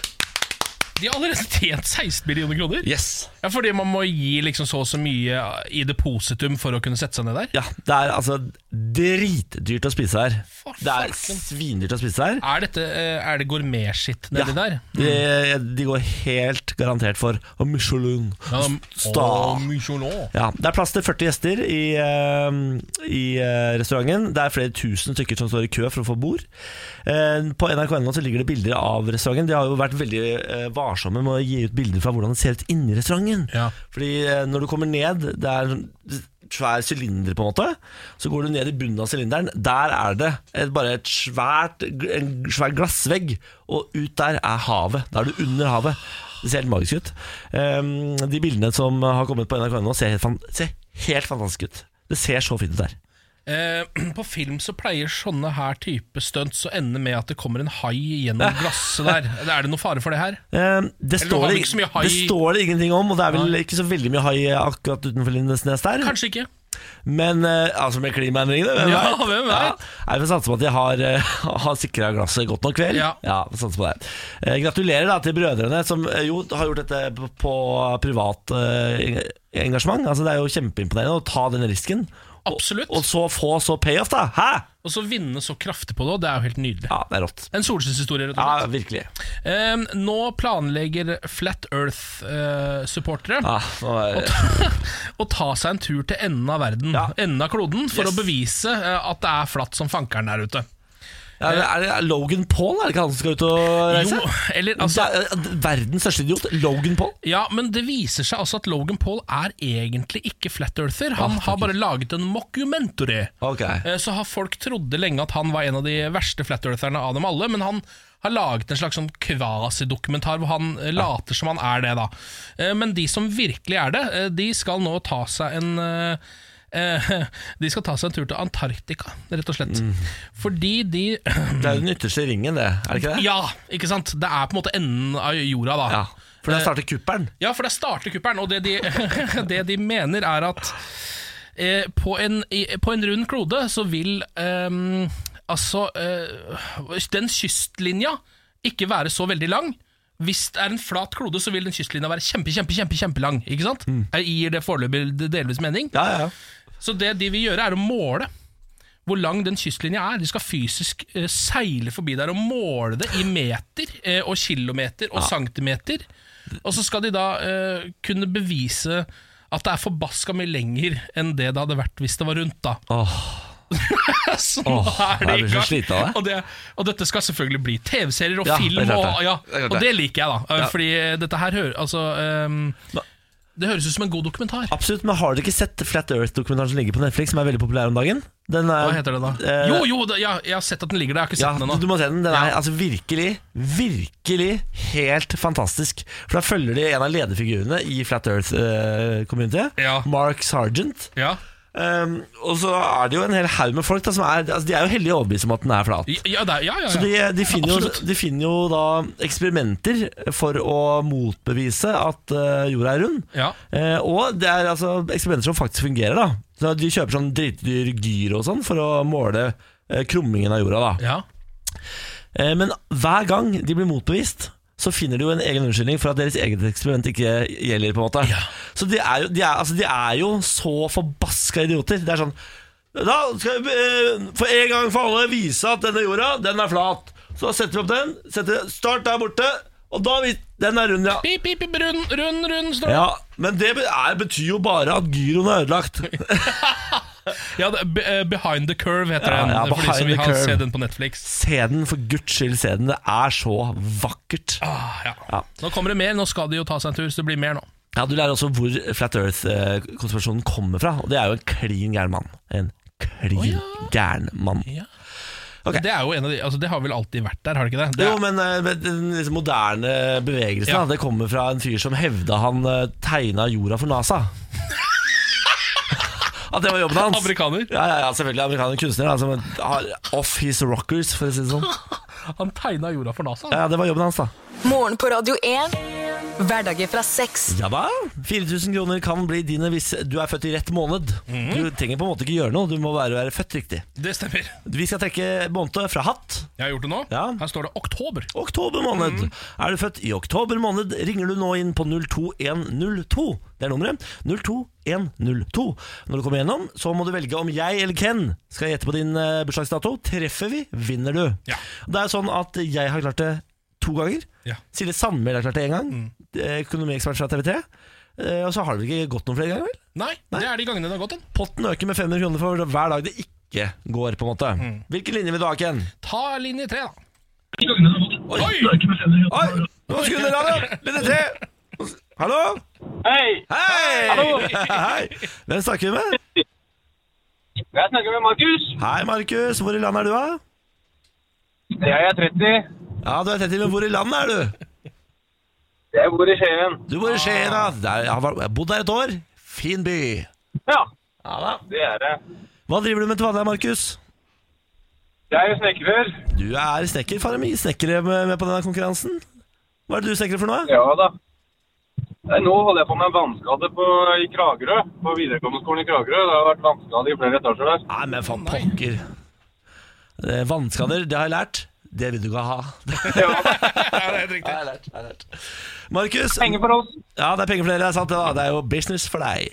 De har allerede tjent 16 millioner kroner. Yes. Ja, Fordi man må gi liksom så og så mye i depositum for å kunne sette seg ned der. Ja, det er altså dritdyrt å spise her. For Det er fucken. svindyrt å spise her. Er, dette, eh, er det gourmetskitt nedi der? Mm. De, de går helt garantert for Og Michelin. Åh, Star. Michelin. Ja, Det er plass til 40 gjester i, eh, i eh, restauranten. Det er flere tusen stykker som står i kø for å få bord. Eh, på nrk.no så ligger det bilder av restauranten. De har jo vært veldig eh, varsomme med å gi ut bilder fra hvordan det ser ut inni restauranten. Ja. Fordi eh, når du kommer ned, det er en svær sylinder på en måte. Så går du ned i bunnen av sylinderen. Der er det et, bare et svært, en svær glassvegg, og ut der er havet. Da er du under havet. Det ser helt magisk ut. Ehm, de bildene som har kommet på NRK nå, ser helt, fan ser helt fantastisk ut. Det ser så fint ut der. Eh, på film så pleier sånne her type stunts å ende med at det kommer en hai gjennom glasset der. Er det noe fare for det her? Ehm, det, Eller står har vi det, ikke så mye hai- det står det ingenting om, og det er vel ikke så veldig mye hai akkurat utenfor Lindesnes der. Kanskje ikke. Men eh, altså med klimaendringene, hvem Ja, vet? hvem vet? Nei, Vi satser på at de har, uh, har sikra glasset godt nok vel. Ja. vi satser på det. Eh, gratulerer da til brødrene, som eh, jo har gjort dette på, på privat eh, engasjement. Altså Det er jo kjempeimponerende å ta den risken. Og- Absolutt. Og så få så payoff, da! Hæ?! Og så vinne så kraftig på det, og det er jo helt nydelig. Ja, det er rått. En solskinnshistorie, rett og Ja, slett. virkelig. Eh, nå planlegger Flat eh, Earth-supportere Ja, nå er, å ta seg en tur til enden av verden, Ja. enden av kloden, for Yes. å bevise eh, at det er flatt som fankeren der ute. Ja, er, det, er det Logan Paul, er det ikke han som skal ut og reise? Jo, eller altså Det er, eh, verdens største idiot, Logan Paul. Ja, men det viser seg altså at Logan Paul er egentlig ikke flat earther. Han har bare laget en mockumentary. Ok. Eh, Så har folk trodde lenge at han var en av de verste flat eartherne av dem alle, men han har laget en slags sånn kvasidokumentar hvor han eh, later som han er det, da. Eh, Men de som virkelig er det, eh, de skal nå ta seg en eh, eh, de skal ta seg en tur til Antarktika, rett og slett. Mm. Fordi de Det er jo den ytterste ringen, det. Er det ikke det? Ja, ikke sant? Det er på en måte enden av jorda, da. Ja, Eh, for der starter kuppelen. Ja, for der starter kuppelen, og det de, det de mener er at eh, på, en, i, på en rund klode så vil ehm, altså eh, den kystlinja ikke være så veldig lang. Hvis det er en flat klode, så vil den kystlinja være kjempe, kjempe, kjempe, kjempelang. Ikke sant? Jeg gir det foreløpig delvis mening. Ja, ja, ja. Så det de vil gjøre er å måle hvor lang den kystlinja er. De skal fysisk eh, seile forbi der og måle det i meter eh, og kilometer og centimeter. Og så skal de da eh, kunne bevise at det er forbaska mye lenger enn det det hadde vært hvis det var rundt, da. Åh, Så nå Åh, er jeg de i blir så gang. sliten av det. Og, det, og dette skal selvfølgelig bli TV-serier og Ja, det er film, klart og, det. ja, Det er klart og det. det liker jeg, da. Eh, Ja. Fordi dette her hører Altså eh, Hva? Det høres ut som en god dokumentar. Absolutt, men har dere ikke sett Flat Earth-dokumentaren som ligger på Netflix, som er veldig populær om dagen? Den er, Hva heter det da? eh, jo, jo, det, ja, jeg har sett at den ligger der. Jeg har ikke sett Ja, den du, ennå. du må se den. Den er Ja. altså virkelig, virkelig helt fantastisk. For da følger de en av lederfigurene i Flat Earth-communityet, Ja. Mark Sargent. Ja. Um, og så er det jo en hel haug med folk da, som er altså, De er jo heldig overbevist om at den er flat. Ja, ja, det er- ja, ja, ja. Så de, de, finner jo, Absolutt. de finner jo da eksperimenter for å motbevise at eh, jorda er rund. ja. Eh, og det er altså eksperimenter som faktisk fungerer. da så De kjøper sånn dritdyr gyr og sånn for å måle eh, krummingen av jorda. da ja. eh, Men hver gang de blir motbevist, så finner de jo en egen unnskyldning for at deres eget eksperiment ikke gjelder. på en måte Ja. Så de er, jo, de, er, altså, de er jo så forbaska idioter. Det er sånn Da skal vi eh, for en gang for alle vise at denne jorda, den er flat. Så setter vi opp den. Setter, start der borte. Og da vi, Den er rund, ja. Pip, pip, pip, rund, rund, rund. står det. Ja, Men det be- er, betyr jo bare at gyroen er ødelagt. Ja, det, be- eh, Behind the Curve heter Ja, den. ja, for de som Behind vil the ha Curve. se den på Netflix. Se den, for guds skyld, se den. Det er så vakkert. Ah, ja. Ja. Nå kommer det mer. Nå skal de jo ta seg en tur, så det blir mer nå. Ja, Du lærer også hvor Flat Earth-konspirasjonen kommer fra. Og det er jo en klin gæren mann. En klin gæren mann. Ok. Det er jo en av de, altså det har vel alltid vært der, har det ikke det? det Jo, men eh, den liksom moderne bevegelsen Ja. da, Det kommer fra en fyr som hevda han eh, tegna jorda for NASA. At det var jobben hans. Amerikaner. Ja, ja, ja, selvfølgelig amerikaner kunstner. Da, som har ah, off his rockers, for å si det sånn. Han tegna jorda for NASA. Ja, ja, Det var jobben hans, da. Morgen på Radio 1. Hverdager fra seks. Ja da. 4000 kroner kan bli dine hvis du er født i rett måned. Du trenger på en måte ikke gjøre noe, du må bare være født riktig. Det stemmer. Vi skal trekke måned fra hatt. Jeg har gjort det nå. Ja. Her står det oktober. Oktober måned. Er du født i oktober måned, ringer du nå inn på 02102. Det er nummeret. 02102. Når du kommer gjennom, så må du velge om jeg eller Ken skal gjette på din eh, bursdagsdato. Treffer vi, vinner du. Ja. Det er sånn at jeg har klart det to ganger. Ja. Silje Sandmæl har klart det én gang. Eh, Økonomiekspert fra TV3. Eh, Og så har det vel ikke gått noen flere ganger, vel? Nei, det er de gangene det har gått en. Potten øker med 500 kroner for hver dag det ikke går, på en måte. Hvilken linje vil du ha, Ken? Ta linje tre, da. Oi! Oi! Oi! Nå skrur dere av det! Linje tre! Hallo? Hei, Hei! Hei! Hvem snakker vi med? jeg snakker med Markus. Hei, Markus. Hvor i landet er du, da? Jeg er 30. Ja, du er tett til, men hvor i landet er du? Jeg bor i Skien. Du bor i Skien, da. Der, jeg har vært- jeg har bodd der et år. Fin by. Ja, det er det. Hva driver du med til vanlig, Markus? Jeg er jo snekker. Du er snekker. Faen, det er mye snekkere med med på denne konkurransen. Hva er det du snekrer for noe? Ja da. Nei, Nå holder jeg på med en vannskade på, i Kragerø, på videregående skolen i Kragerø. Det har vært vannskade i flere etasjer der. Nei, men faen pokker. Eh, Vannskader, det har jeg lært. Det vil du ikke ha. Det Ja, det er helt riktig. har jeg lært. det har jeg lært. Markus, Penger for oss. Ja, det er penger for dere, det er sant det da. Det er jo business for deg.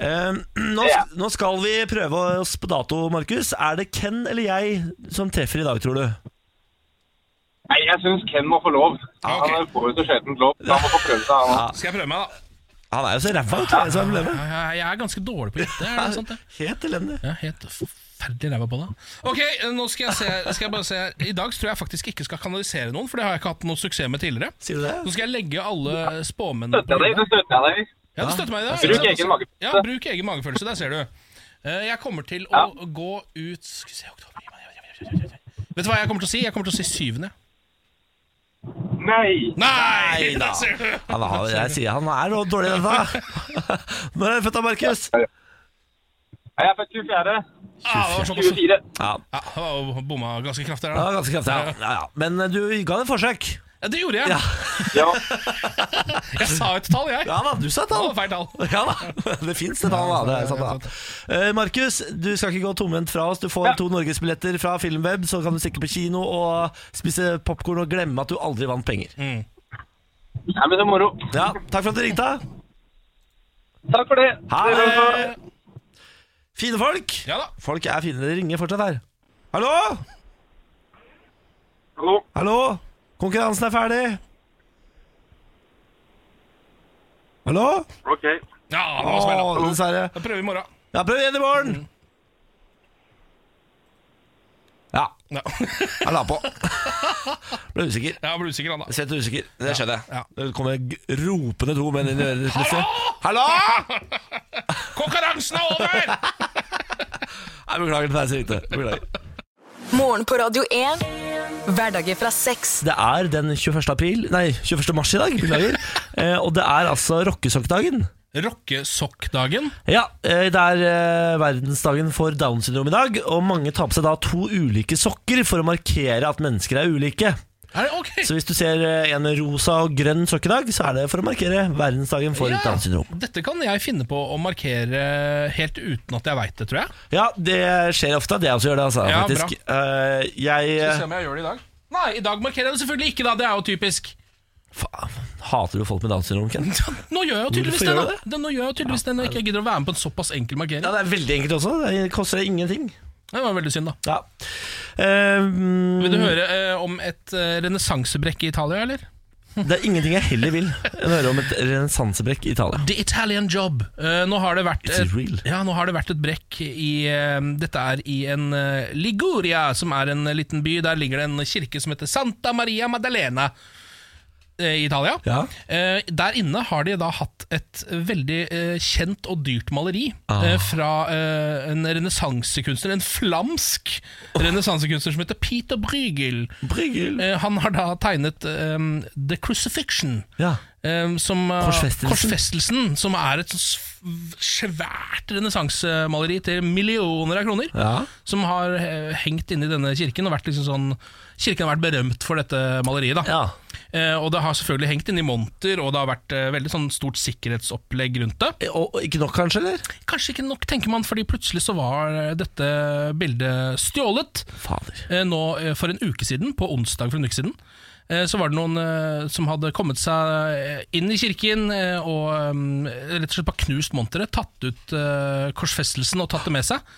Eh, nå, Ja. nå skal vi prøve oss på dato, Markus. Er det Ken eller jeg som treffer i dag, tror du? Nei, jeg syns Ken må få lov. ok. Han får jo så skjetent lov. Han må få prøve seg, han også. Skal jeg prøve meg, da? Han er jo så ræva ut, det er det som er problemet. Jeg- Jeg er ganske dårlig på gjette. Er Sånn, det sant, det? Helt elendig. Jeg er helt forferdelig ræva på det. Ok, nå skal jeg, se, skal jeg bare se her. I dag tror jeg faktisk ikke skal kanalisere noen, for det har jeg ikke hatt noe suksess med tidligere. Sier du Nå det? skal jeg legge alle spåmennene på Støtter jeg deg, hylla. så støtter jeg deg. Ja, du støtter meg i det. Bruk egen magefølelse. Ja, bruk egen magefølelse. Der ser du. Eh, Jeg kommer til å gå ut Skal vi se oktober Vet du hva jeg kommer til å si? Jeg kommer til å si syvende. Nei. Nei! Nei da. der ser du. Han er, jeg sier han er noe dårlig i dette. Når er du født da, Markus? Nei, Jeg er født 24. Ah, det var såpass. 24. Ja. Ja, det var jo bomma ganske kraftig der, Det da. var ganske kraftig. Ja. Ja, ja. Men eh, du ga det et forsøk. Ja, det gjorde jeg. Ja. Ja. Jeg sa et tall, jeg. Ja da, du sa et Det tall. var feil tall. Ja da, det fins et tall, da. Det er sant, da. Eh, Markus, du skal ikke gå tomhendt fra oss. Du får to norgesbilletter fra Filmweb, så kan du stikke på kino og spise popkorn og glemme at du aldri vant penger. Nei, men det er moro. Ja, Takk for at du ringte. Takk for det. Ha det. er bra. det! Fine folk. Ja da. Folk er fine. De ringer fortsatt her. Hallo? Hallo. Hallo? Konkurransen er ferdig. Hallo? Ok. Ja, det Å, var smell, da. dessverre. Da prøver vi i morgen. Ja, prøv igjen i morgen. Mm. Ja, Ja. jeg la på. Ble usikker. Jeg ble usikker, han da. Svett og usikker. Det skjønner jeg. Ja. Det kommer g- ropende to menn inn i øret plutselig. Hallo! Konkurransen er over! Nei, beklager til deg, så riktig. Beklager. Morgen på Radio 1. Hverdager fra seks. Det er den 21. april Nei, 21. mars i dag. Beklager. Eh, og det er altså rockesokkdagen. Rockesokkdagen. Ja, eh, det er eh, verdensdagen for Down syndrom i dag, og mange tar på seg da to ulike sokker for å markere at mennesker er ulike. Er det ok? Så hvis du ser eh, en rosa og grønn sokkedag, så er det for å markere verdensdagen for Downs syndrom. Dette kan jeg finne på å markere helt uten at jeg veit det, tror jeg. Ja, det skjer ofte. Det jeg også gjør det, altså. Ja, faktisk. Eh, jeg om jeg gjør det i dag. Nei, i dag markerer jeg det selvfølgelig ikke, da. Det er jo typisk. Faen, hater du folk med Downs syndrom, Ken? Nå gjør jeg jo tydeligvis Hvorfor det, gjør da. du Det- Nå gjør jeg jo tydeligvis det når jeg ikke gidder å være med på en såpass enkel Ja, markering. det er veldig enkelt også. Det koster deg ingenting. Det var veldig synd, da. Ja. Eh, mm, Vil du høre eh, om et eh, renessansebrekk i Italia, eller? det er ingenting jeg heller vil enn å høre om et renessansebrekk i Italia. The Italian Job. Eh, nå, har det vært It's et, real. ja, nå har det vært et brekk i eh, Dette er i en eh, Liguria, som er en liten by. Der ligger det en kirke som heter Santa Maria Maddalena eh, i Italia. Ja. Eh, der inne har de da hatt et veldig eh, kjent og dyrt maleri eh, fra eh, en renessansekunstner, en flamsk renessansekunstner som heter Peter Bruegel. Bryggel. Eh, han har da tegnet eh, The Crucifixion. Ja. Ehm, som, eh, Korsfestelsen. Korsfestelsen, som er et sånt sv- svært renessansemaleri til millioner av kroner. Ja. Som har eh, hengt inne i denne kirken. Og vært liksom sånn, kirken har vært berømt for dette maleriet. Da. Ja. Eh, og det har selvfølgelig hengt inn i monter, og det har vært eh, veldig sånn stort sikkerhetsopplegg rundt det. Eh, Og, og ikke nok, kanskje? eller? Kanskje ikke nok, tenker man, fordi plutselig så var eh, dette bildet stjålet. Fader. Eh, nå eh, for en uke siden, på onsdag for en uke siden, eh, så var det noen eh, som hadde kommet seg eh, inn i kirken eh, og eh, rett og slett bare knust monteret, tatt ut eh, korsfestelsen og tatt det med seg.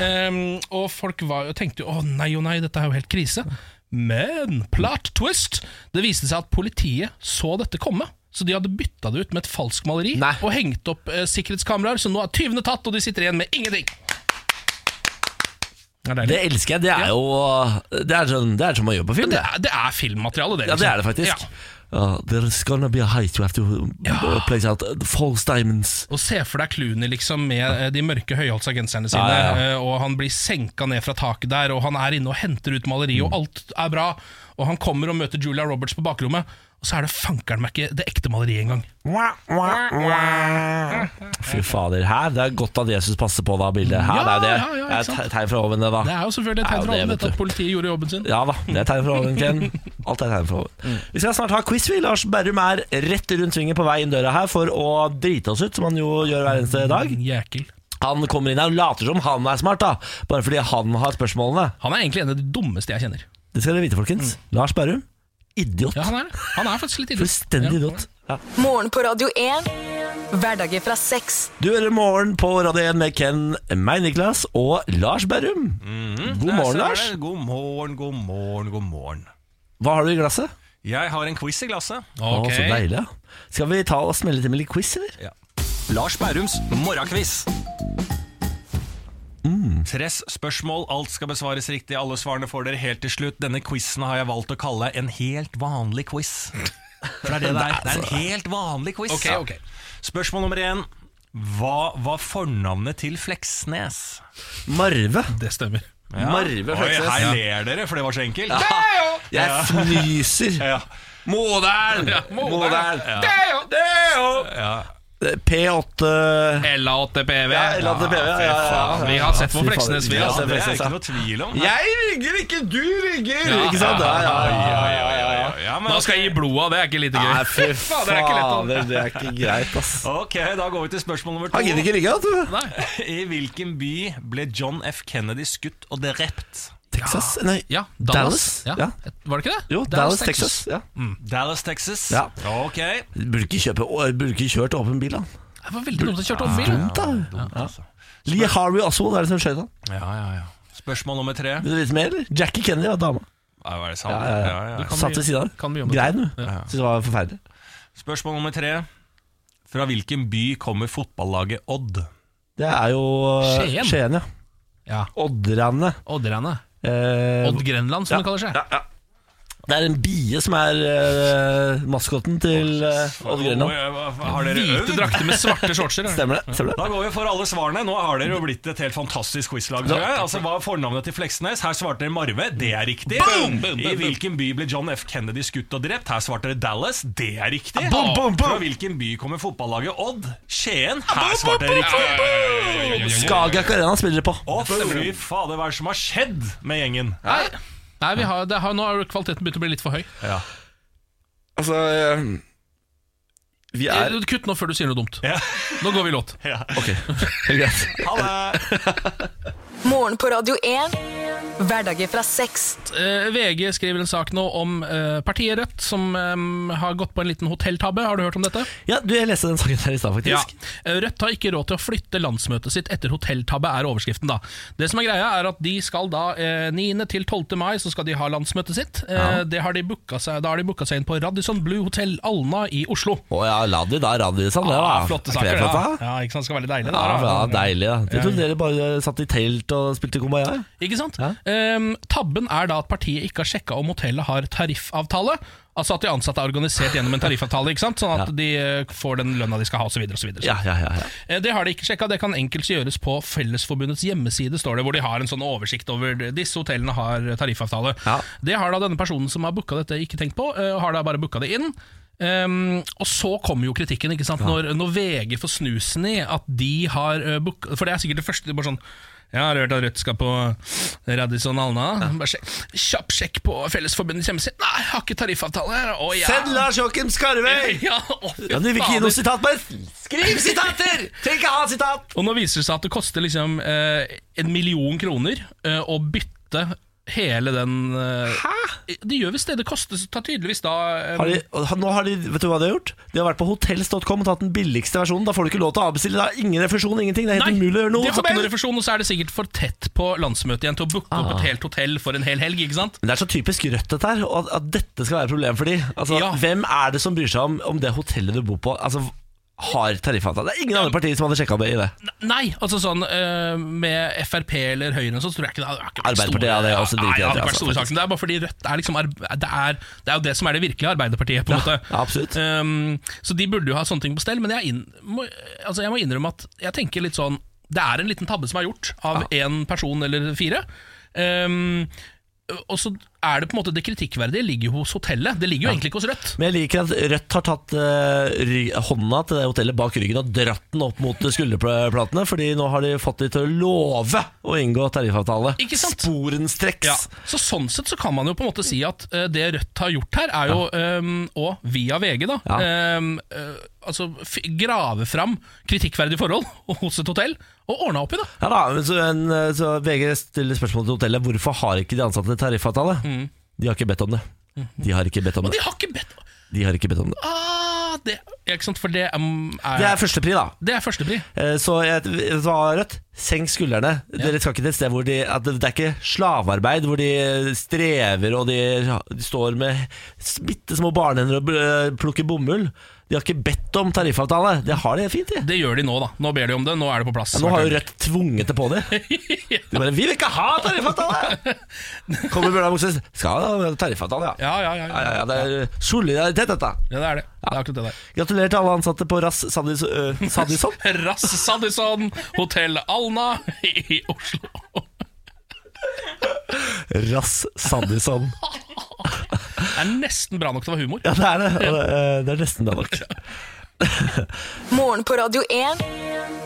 Eh, og folk var, jo- tenkte jo å nei, å nei, dette er jo helt krise. Men plot twist! Det viste seg at politiet så dette komme. Så de hadde bytta det ut med et falskt maleri Nei. og hengt opp eh, sikkerhetskameraer, så nå er tyvene tatt, og de sitter igjen med ingenting. Det er deilig. Det elsker jeg. Det er jo Det er sånn, det er sånn man gjør på film. Det Det. er, det er filmmateriale, det. Ja, liksom. det er det faktisk. Ja. Ja, there's gonna be a height you have to uh, place out uh, false diamonds. Og se for deg Clooney liksom, med eh, de mørke høyhalsa genserne sine, Ja, ja, eh, og han blir senka ned fra taket der, og han er inne og henter ut maleriet, Mm. og alt er bra, og han kommer og møter Julia Roberts på bakrommet, og så er det fankeren meg ikke det ekte maleriet engang. Fy fader. Her, det er godt at Jesus passer på da bildet. Her, Ja, det er det. ja, ja, det ikke er sant? et tegn fra oven, det da. Det er jo selvfølgelig et Det er jo tegn fra det, vet alle dette du. at politiet gjorde jobben sin. Ja da, det er tegn fra oven, Ken. Alt er tegn fra Mm. oven. Vi skal snart ha quiz, vi. Lars Berrum er rett rundt svingen på vei inn døra her for å drite oss ut, som han jo gjør hver eneste dag. Jækel. Han kommer inn her og later som han er smart, da. Bare fordi han har spørsmålene. Han er egentlig en av de dummeste jeg kjenner. Det skal dere vite, folkens. Lars Berrum, idiot. Mm. Ja, han er, det. han er faktisk litt idiot. Fullstendig Ja. idiot. Ja. Morgen på Radio 1. Hverdager fra seks. Du hører Morgen på Radio 1 med Ken, meg, Niklas og Lars Berrum. Mhm. God Der morgen, ser Lars. dere. God morgen, god morgen, god morgen. Hva har du i glasset? Jeg har en quiz i glasset. Å, Ok. så deilig. ja. Skal vi ta og smelle til med litt quiz, eller? Lars Bærums morgenquiz. Tres spørsmål, alt skal besvares riktig. Alle svarene får dere helt til slutt. Denne quizen har jeg valgt å kalle en helt vanlig quiz. For det er det det er. Det er en helt vanlig quiz. Ok, ok. Spørsmål nummer én. Hva var fornavnet til Fleksnes? Marve. Det stemmer. Marve Oi, Fleksnes. her ler dere, for det var så enkelt. Jeg fnyser. Ja. Modern! Modern. Ja. P8 LA8PV. Ja, LATPV, ja, ja, ja, ja. Vi har sett på Fy faen, Fleksnes, vi. ja, Ja, altså. det er ikke noe tvil om. Jeg rygger, ikke du rygger! Ja, ikke sant? Ja, ja, ja. Ja, ja, ja, ja. Ja, men Nå skal jeg gi blod av, det er ikke lite gøy. Nei, fy faen, det er ikke lett, da. fader, det er ikke greit, ass. Ok, da går vi til spørsmål nummer Han gidder to. ikke rygge, vet du. I hvilken by ble John F. Kennedy skutt og drept? Texas? Nei, Ja, Dallas. Dallas. Ja. Ja. Var det ikke det? jo, Dallas, Texas. Ja. Dallas, Texas. Ja. Ok. Burde ikke, kjøpe, å, burde ikke kjørt åpen bil, han. Det var veldig dumt å kjøre over bil. Dumt, da. Dumt, altså. Lee Harvey Oswald er det som skjøt han. Ja, ja, ja. Spørsmål nummer tre. Vil du vite mer, eller? Jackie Kennedy var dama. Ja, var det sant? Ja, ja, ja. Ja, ja. Satt ved siden av. Kan mye om det. Grein, du. Syns det var forferdelig. Spørsmål nummer tre. Fra hvilken by kommer fotballaget Odd? Det er jo eh, Skien. Skien ja. Ja. Oddrande. Odderne. Eh, Odd Grenland, som det kaller seg. Det er en bie som er eh, maskotten til eh, Odd Oi, Grenland. hva- hva- Har dere Hvite øvd? drakter med svarte shortser. er det? Stemmer det? Stemmer det? Da går vi for alle svarene. Nå har dere jo blitt et helt fantastisk quizlag. tror jeg. Altså, Hva er fornavnet til Fleksnes? Her svarte dere Marve. Det er riktig. Boom! Boom, boom, I boom. hvilken by ble John F. Kennedy skutt og drept? Her svarte dere Dallas. Det er riktig. boom, boom, boom. Fra hvilken by kommer fotballaget Odd? Skien. Her svarte dere riktig. Skagak Arena spiller de på. Å, fy fader, hva er det som har skjedd med gjengen? Nei, Nei vi har, det har, nå har kvaliteten begynt å bli litt for høy. Ja. Altså eh, Vi er Eh, Kutt nå før du sier noe dumt. Ja. Nå går vi i låt. Ok, greit. Ha det. Morgen på Radio 1. Hverdager fra seks. Eh, VG skriver en sak nå om eh, partiet Rødt, som eh, har gått på en liten hotelltabbe. Har du hørt om dette? Ja, du, jeg leste den saken her i stad, faktisk. Ja. Eh, Rødt har ikke råd til å flytte landsmøtet sitt etter hotelltabbe, er overskriften da. Det som er greia er at de skal da eh, 9. til 12. mai så skal de ha landsmøtet sitt. Eh, Det har de booka seg, da har de booka seg inn på Radisson Blue Hotel Alna i Oslo. Å ja, Ladi, da. Radiosan, det, da. Ah, Er flotte ikke saker, det flott, da. da. Ja, ikke sant, det skal være litt deilig. Ja, da. ja, deilig. da Jeg trodde dere bare satt i telt og spilte kumbaya. Ikke sant? Ja. Ehm, tabben er da at partiet ikke har sjekka om hotellet har tariffavtale. Altså at de ansatte er organisert gjennom en tariffavtale, ikke sant? sånn at de eh, får den lønna de skal ha osv. Ja, ja, ja, ja. Eh, Det har de ikke sjekka. Det kan enkelt gjøres på Fellesforbundets hjemmeside, står det, hvor de har en sånn oversikt over disse hotellene har tariffavtale. Ja. Det har da denne personen som har booka dette, ikke tenkt på, eh, og har da bare booka det inn. Ehm, og så kommer jo kritikken, ikke sant? Når, når VG får snusen i at de har eh, book- For det er sikkert det første de bare sånn Jeg har hørt at Rødt skal på Radisson Alna. Bare sjekk. Kjapp sjekk på Fellesforbundets hjemmeside. Nei, har ikke tariffavtale her. Å, ja. Send Lars Joakim Skarvøy! Ja, å, fy Ja, du vil ikke gi fader. noe sitat, bare skriv sitater! Trenger ikke ha sitat! Og nå viser det seg at det koster liksom eh, en million kroner eh, å bytte hele den eh, Hæ? De gjør visst det. Det koster tar tydeligvis da eh, Har de, og nå har de, vet du hva de har gjort? De har vært på hotels.com og tatt den billigste versjonen. Da får du ikke lov til å avbestille. Da er ingen refusjon, ingenting. Det er helt Nei, umulig å gjøre de noe har som ikke noen helst. refusjon, og så er det sikkert for tett på landsmøtet igjen til å booke Ah. opp et helt hotell for en hel helg. ikke sant? Men Det er så typisk Rødt dette her, og at, at dette skal være et problem for de. Altså, Ja. Hvem er det som bryr seg om, om det hotellet du bor på? Altså, har tariffavtale? Det er ingen andre partier som hadde sjekka det i det. Nei, altså sånn eh, med Frp eller Høyre, sånn, så tror jeg ikke det hadde vært store Arbeiderpartiet hadde jeg også Nei, driti i, det hadde ikke vært altså, store saken. Det er bare fordi Rødt er liksom arbe- det er, det er jo det som er det virkelige Arbeiderpartiet, på en Ja, måte. ja, absolutt. Um, så de burde jo ha sånne ting på stell, men jeg, inn, må, altså jeg må innrømme at jeg tenker litt sånn Det er en liten tabbe som er gjort av én person eller fire. Um, og så er det på en måte det kritikkverdige ligger jo hos hotellet. Det ligger jo egentlig ikke hos Rødt. Men jeg liker at Rødt har tatt eh, ry- hånda til det hotellet bak ryggen og dratt den opp mot skulderplatene, fordi nå har de fått de til å love å inngå tariffavtale. Ikke sant? Sporenstreks. Ja. Så Sånn sett så kan man jo på en måte si at eh, det Rødt har gjort her, er jo, ehm, og via VG, da Ja. ehm, eh, Altså f grave fram kritikkverdige forhold hos et hotell, og ordna opp i det. Ja da, men så, en, eh, så VG stiller spørsmål til hotellet Hvorfor har ikke de ansatte tariffavtale? De har ikke bedt om det De har ikke bedt om Mm. Mhm. Og det de har ikke bedt De har ikke bedt om det ah, det, ja, Ikke sant, for det ehm, er, Det er førstepri da det er førstepri. Eh, Så jeg, vet du hva, Rødt, senk skuldrene Dere skal ikke til et sted hvor de at Det er ikke slavarbeid hvor de eh, strever Og de, de står med Bittesmå barnehender og eh, plukker bomull De har ikke bedt om tariffavtale Det har de fint i Det gjør de nå, da. Nå ber de om det. Nå er det på plass. Ja, Nå har jo Rødt tvunget det på dem. De bare 'Vi vil ikke ha tariffavtale!' Kommer Bjørnar Moxnes 'Skal ha tariffavtale', ja. ja, ja, ja, Ja, ja, ja, det er solidaritet, dette. Ja, det er det. Det er akkurat det der. Gratulerer til alle ansatte på Rass Sadis, ø, Sadisson. Rass Sadison, Hotell Alna i Oslo. Rass Sadisson. Det er nesten bra nok til å være humor. Ja, det er det. Og det, ø, det er nesten bra nok. Morgen på Radio 1.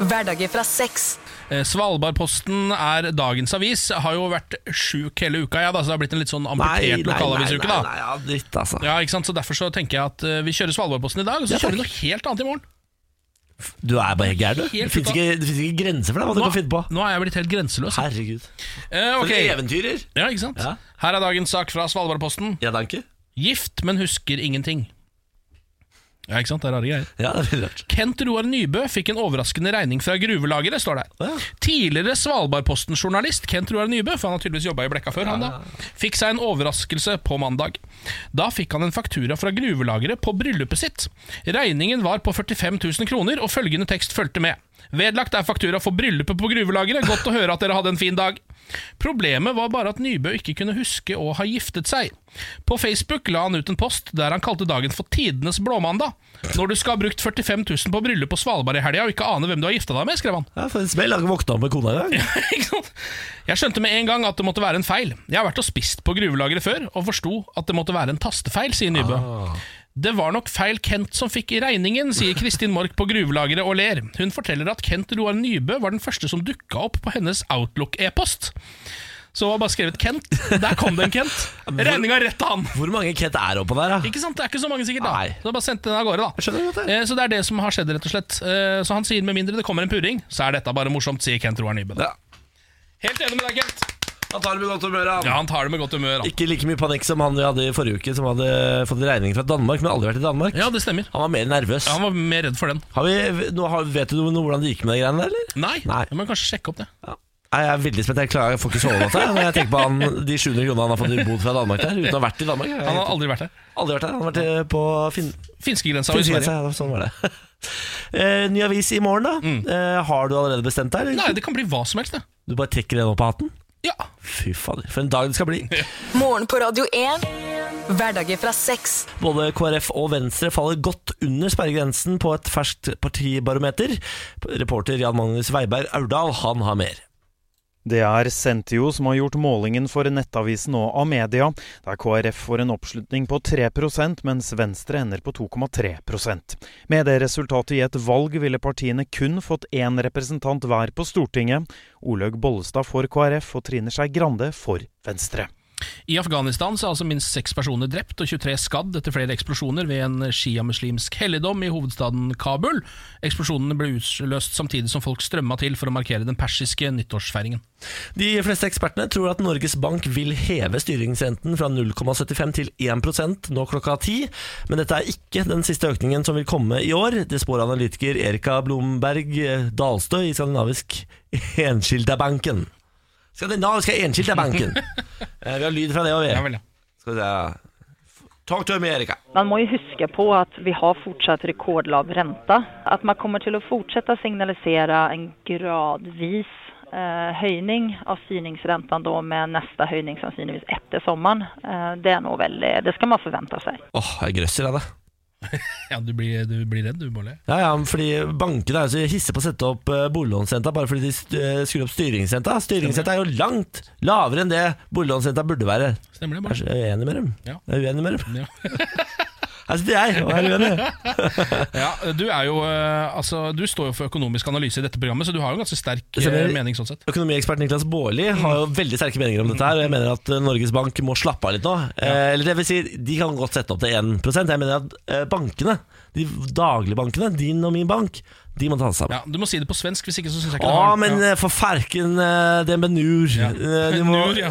Hverdager fra seks. Eh, Svalbardposten er dagens avis. Har jo vært sjuk hele uka, ja, da, så det har blitt en litt sånn amputert lokalavisuke. nei, da nei, ja, dritt, altså. ja, ikke sant? Så Derfor så tenker jeg at eh, vi kjører Svalbardposten i dag, og så Ja, kjører vi takk. noe helt annet i morgen. Du er bare helt gæren, du. Det Helt fins ut av- ikke, det finnes ikke grenser for deg hva du kan finne på. nå er jeg blitt helt grenseløs. Herregud. Eh, For ok. en eventyrer. ja, ikke sant? Ja. Her er dagens sak fra Svalbardposten. Ja, danke. Gift, men husker ingenting. Ja, ikke sant? Det er rare greier. Ja, det er veldig rart. Kent Roar Nybø fikk en overraskende regning fra gruvelageret, står det her. Ja. Tidligere Svalbardposten-journalist Kent Roar Nybø, for han har tydeligvis jobba i Blekka før, han da, fikk seg en overraskelse på mandag. Da fikk han en faktura fra gruvelageret på bryllupet sitt. Regningen var på 45 000 kroner, og følgende tekst fulgte med. Vedlagt er faktura for bryllupet på gruvelageret. Godt å høre at dere hadde en fin dag. Problemet var bare at Nybø ikke kunne huske å ha giftet seg. På Facebook la han ut en post der han kalte dagen for tidenes blåmandag. Når du skal ha brukt 45 000 på bryllup på Svalbard i helga og ikke aner hvem du har gifta deg med, skrev han. Ja, for en smell. Jeg har ikke våkna opp med kona i dag. Ikke sant? Jeg skjønte med en gang at det måtte være en feil. Jeg har vært og spist på gruvelageret før, og forsto at det måtte være en tastefeil, sier Nybø. Ah. Det var nok feil Kent som fikk i regningen, sier Kristin Mork på gruvelageret og ler. Hun forteller at Kent Roar Nybø var den første som dukka opp på hennes Outlook-e-post. Så var bare skrevet Kent. Der kom det en Kent. Regninga rett til han. Hvor mange Kent er oppå der, da? Ikke sant? Det er ikke så mange sikkert da Nei. Så bare sendte den av gårde da Jeg skjønner godt det. Eh, Så det er det som har skjedd rett og slett Eh, Så han sier med mindre det kommer en puring Så er dette bare morsomt, sier Kent Roar Nybø da. Ja. Helt enig med deg, Kent Han tar det med godt humør, han. Ja, han tar det med godt humør han. Ikke like mye panikk som han vi hadde i forrige uke, som hadde fått regning fra Danmark, men aldri vært i Danmark. Ja, det stemmer Han var mer nervøs. ja, Han var mer redd for den Har vi, nå har, vet du noe, noe hvordan det gikk med de greiene der, eller? Nei, Nei. jeg må kanskje sjekke opp det Nei, Jeg er veldig spent. Jeg, klarer, jeg får ikke sove natta jeg, når jeg tenker på han, de 700 kronene han har fått i bod fra Danmark der, uten å ha vært i Danmark. Jeg Han har har aldri vært her aldri vært der. Han har vært eh, på Finn... Finskegrensa og i Finnsgrensa, Sverige ja, sånn var det. Eh, ny avis i morgen, da. Eh, har du allerede bestemt deg? Nei, eller? det kan bli hva som helst det Du bare trekker den opp av hatten? Ja Fy fader, for en dag det skal bli. Morgen på Radio 1. Hverdager fra seks. Både KrF og Venstre faller godt under sperregrensen på et ferskt partibarometer. Reporter Jan Magnus Weiberg Aurdal han har mer. Det er Sentio som har gjort målingen for Nettavisen og Amedia, der KrF får en oppslutning på 3 mens Venstre ender på 2,3 Med det resultatet i et valg ville partiene kun fått én representant hver på Stortinget. Olaug Bollestad for KrF og Trine Skei Grande for Venstre. I Afghanistan så er altså minst seks personer drept og 23 skadd etter flere eksplosjoner ved en sjiamuslimsk helligdom i hovedstaden Kabul. Eksplosjonene ble utløst samtidig som folk strømma til for å markere den persiske nyttårsfeiringen. De fleste ekspertene tror at Norges Bank vil heve styringsrenten fra 0,75 til 1 nå klokka 10, men dette er ikke den siste økningen som vil komme i år. Det spår analytiker Erika Blomberg eh, Dalstø i Skandinavisk Enskildabanken. Skandinaviske Enskildabanken. Eh, Vi har lyd fra det òg, vi. Ja vel, ja. Skal vi se Talk to America. Man må ju huska på att vi har fortsatt rekordlav ränta. Att man kommer till att fortsätta signalisera en gradvis eh, höjning av styrningsräntan då med nästa höjning sannolikt efter sommaren. Eh, det är nog väl, det ska man förvänta sig. Åh, jeg grøsser av det. Ja, du blir, du blir redd, du, Bolle. Ja, ja, men fordi Bankene er jo så hisse på å sette opp eh, boliglånsrenta bare fordi de st- eh, skrur opp styringsrenta. Styringsrenta er jo langt lavere enn det boliglånsrenta burde være. Stemmer det, Jeg er Bolle? så uenig med dem. Ja. Jeg er uenig med dem. Ja. Her sitter jeg og er uenig. Ja, du er jo eh, Altså, du står jo for økonomisk analyse i dette programmet, så du har jo ganske sterk eh, Stemmer. mening sånn sett. Økonomiekspert Niklas Baarli har jo veldig sterke meninger om dette. her og Jeg mener at eh, Norges Bank må slappe av litt nå. Eh, eller det vil si, De kan godt sette opp til 1 Jeg mener at eh, bankene, de dagligbankene, din og min bank, de må ta seg sammen. Ja, du må si det på svensk, hvis ikke så syns jeg ikke Å, det har- men ja. eh, for ferken eh, DNB Nur Ja. eh, de må- Nur, ja.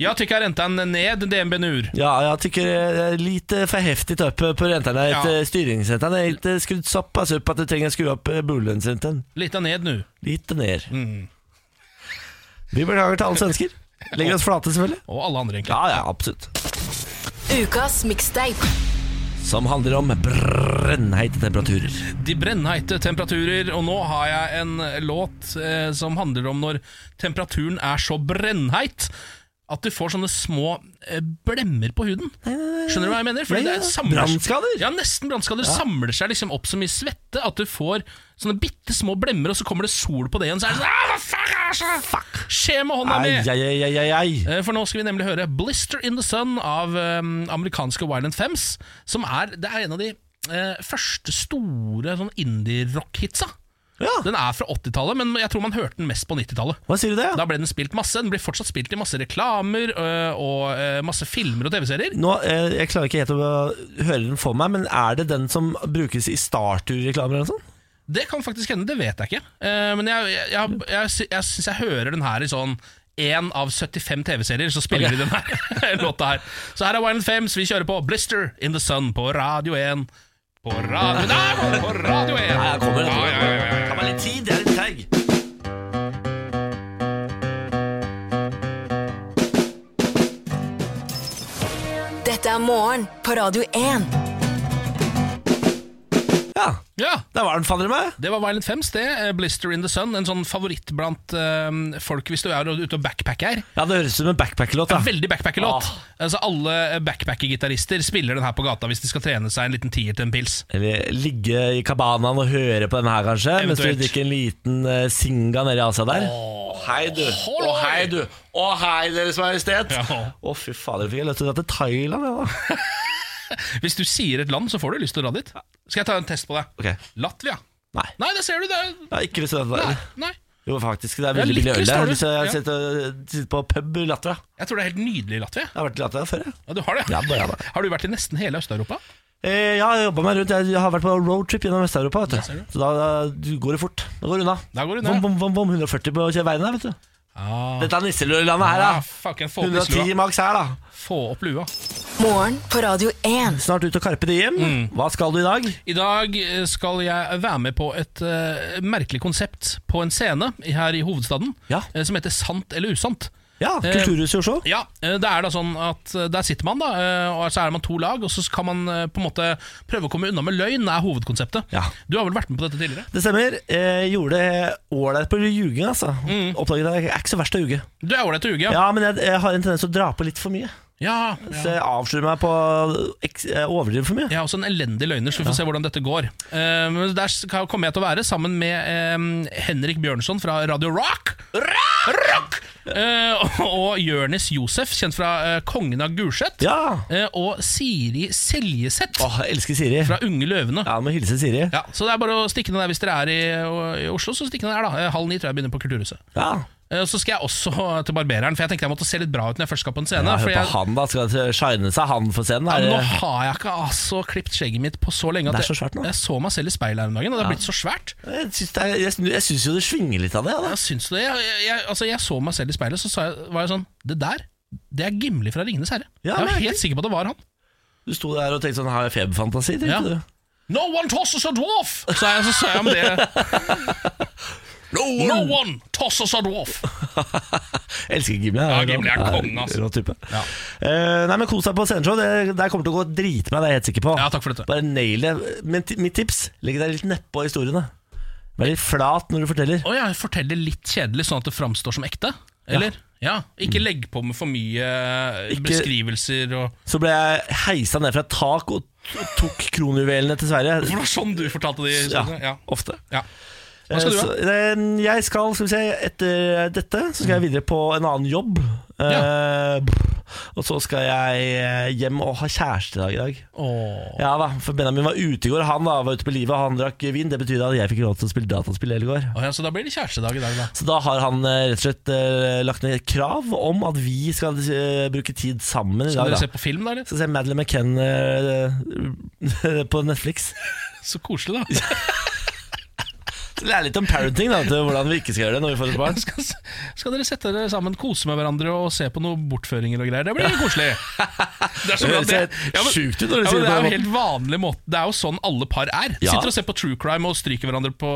Jag tycker räntan är ned, DNB Nur. Ja, jeg tykker det er litt eh, for heftig opp på rentene. Ja. Ja. Styringsrentene er ikke skrudd såpass opp at du trenger å skru opp boliglønnsrenten. Lite ned nu. Litt ned. Vi beklager til alle svensker. Legger oss flate, selvfølgelig. Og alle andre, egentlig. Ja, ja, absolutt. Ukas mixtape. Som handler om brennheite temperaturer. De brennheite temperaturer, og nå har jeg en låt eh, som handler om når temperaturen er så brennheit at du får sånne små eh, blemmer på huden. Skjønner du hva jeg mener? Fordi Ja, ja. det er- samler- Brannskader? Ja, nesten brannskader. Samler seg liksom opp så mye svette at du får sånne bitte små blemmer, og så kommer det sol på det igjen, så er det sånn «Ah, Hva fuck er det som fuck? skjer med hånda Ai, mi? ai, ai, ai, ai, ai. Eh, For nå skal vi nemlig høre Blister in the Sun av eh, amerikanske Violent Femmes, som er, det er en av de eh, første store sånn indie-rock-hitsa. Ja, Den er fra 80-tallet, men jeg tror man hørte den mest på 90-tallet. hva sier du det? Da ble den spilt masse. Den blir fortsatt spilt i masse reklamer øh, og øh, masse filmer og TV-serier. Nå, eh, Jeg klarer ikke helt å høre den for meg, men er det den som brukes i Startur-reklamer eller noe sånt? Det kan faktisk hende, det vet jeg ikke. Eh, men jeg, jeg, jeg, jeg, sy- jeg syns jeg hører den her i sånn én av 75 TV-serier, så spiller de den her låta her. Så her er Wild Fames, vi kjører på Blister in the Sun på Radio 1. På Radio Nei, på Radio 1! Ja, jeg kommer. Ja, ja, ja, ja, Ta ja. meg litt tid, jeg er litt treig. Dette er morgen på Radio 1. Ja, ja. der var den, fader meg. Det var Violent Femmes, det. eh, Blister in the Sun. En sånn favoritt blant eh, folk hvis du er ute og backpacker. Ja, det høres ut som en backpack-låt. da. Veldig backpackerlåt. Altså, alle backpacker-gitarister spiller den her på gata hvis de skal trene seg en liten tier til en pils. Eller ligge i kabanaen og høre på den her, kanskje? Mens Eventuelt. du drikker en liten eh, singa nedi Asia der. Å, hei, du. Å, hei, du. Å, hei, Deres Majestet. Å, Ja. fy fader, fikk jeg lyst til å dra til Thailand, jeg, da. Hvis du sier et land, så får du lyst til å dra dit. Skal jeg ta en test på deg? Ok. Latvia. Nei. Nei, det ser du. Det er Jeg har ikke lyst til dette Nei. der. nei. Jo, faktisk, det er Jeg veldig billig liker øl står der. du. Så jeg Ja. sitter, sitter på pub i Latvia. Jeg tror det er helt nydelig i Latvia. Jeg har vært i Latvia før, jeg. Ja, du har det? Ja, da, ja, da. Har du vært i nesten hele Øst-Europa? Eh, ja, jeg har jobba meg rundt. Jeg har vært på roadtrip gjennom Vest-Europa. vet ser du. Så da, da du går det fort. Da går det unna. Da går det unna, Vom, ja. vom, vom, vom, 140 på veiene der, vet du. Dette er nisselandet her, Ah, da. fuck, jeg får opp i 110 slua. maks her, da. Få opp lua. Morgen på Radio 1. Snart ut og Karpe Diem. Mm. Hva skal du i dag? I dag eh, skal jeg være med på et eh, merkelig konsept på en scene her i hovedstaden Ja. eh, som heter Sant eller usant. Ja, Eh, Kulturhuset i Oslo. Ja, eh, det er da sånn at eh, der sitter man da, eh, og så er man to lag, og så kan man eh, på en måte prøve å komme unna med løgn, er hovedkonseptet. Ja. Du har vel vært med på dette tidligere? Det stemmer. Eh, gjorde det ålreit på ljuging, altså. Mm. Oppdaget at jeg er ikke så verst til å ljuge. Du er ålreit til å ljuge, Ja. ja. men jeg, jeg har en tendens til å dra på litt for mye. Ja, Så jeg avslører meg på eks- eh, Overdriver for mye. Jeg er også en elendig løgner, så vi får se hvordan dette går. Eh, men der skal- kommer jeg til å være sammen med eh, Henrik Bjørnson fra Radio Rock. Rock! Eh, og- og Jørnis Josef, kjent fra eh, Kongen av Gulset. Ja. Eh, og Siri Seljeseth Åh, jeg elsker Siri. fra Unge løvene. Ja, må hilse Siri. Ja, så det er bare å stikke ned der hvis dere er i, i Oslo. Så stikk ned der da Eh, Halv ni tror jeg begynner på Kulturhuset. Ja. Eh, Så skal jeg også til barbereren, for jeg tenkte jeg måtte se litt bra ut når jeg først skal på en scene. ja for hør på jeg, han, da. Skal det shine seg han for scenen? ja, Er men nå det- har jeg ikke altså klippet skjegget mitt på så lenge at Det er så jeg, svært nå. jeg så meg selv i speilet her om dagen, og det har blitt så svært. Jeg syns det er- jeg syns- jeg syns jo det svinger litt av det. Ja, da. Jeg, syns det, jeg, jeg- jeg, altså jeg så meg selv i speilet, så sa jeg, var jeg sånn Det der, det er Gimli fra Ringenes herre. Ja, jeg var merkelig. helt sikker på at det var han. Du sto der og tenkte sånn Har jeg feberfantasi? tenkte Ja. du? No one tosses a dwarf! Så jeg, så sa jeg om det. No one tosses a dwarf! Jeg elsker Gimli. jeg. Ja, Gimli er kongen, altså. Rå type. Ja. Eh, nei, men Kos deg på sceneshow. Det, der kommer til å gå dritbra, det er jeg helt sikker på. Ja, takk for dette. Bare nail det. Men ti- mitt tips legg deg litt nedpå historiene. Vær litt flat når du forteller. Å ja, fortelle litt kjedelig sånn at det framstår som ekte? Eller? Ja. Mm. Ikke legg på med for mye eh, Ikke- beskrivelser og Så ble jeg heisa ned fra et tak og t- tok kronjuvelene til Sverige. For det var sånn du fortalte de Ja, historiene? Ja. ofte. ja. Hva skal du ha? Eh, så, eh, Jeg skal, skal vi se, etter dette Så Mm. skal jeg videre på en annen jobb Eh, Og så skal jeg eh, hjem og ha kjærestedag i dag Åh. Ja da, for Benjamin var ute i går Han da, var ute på livet, han drakk vin Det betyr at jeg fikk lov til å spille dataspill hele går Å ja, så da blir det kjærestedag i dag, da. så da har han eh, rett og slett eh, lagt ned et krav om at vi skal eh, bruke tid sammen i Skal dag. Da. dere se på film, da? eller? Skal se Madeleine McCann eh, på Netflix. Så koselig, da. Så lære litt om parenting, da, til hvordan vi ikke skal gjøre det når vi får et barn. Skal, skal dere sette dere sammen, kose med hverandre og se på noen bortføringer og greier? Det blir koselig. Det er så bra at det, Det ser men- sjukt ut når du ja, sier men det det på er den jo helt vanlig måte. Det er jo sånn alle par er. Ja. Sitter og ser på true crime og stryker hverandre på,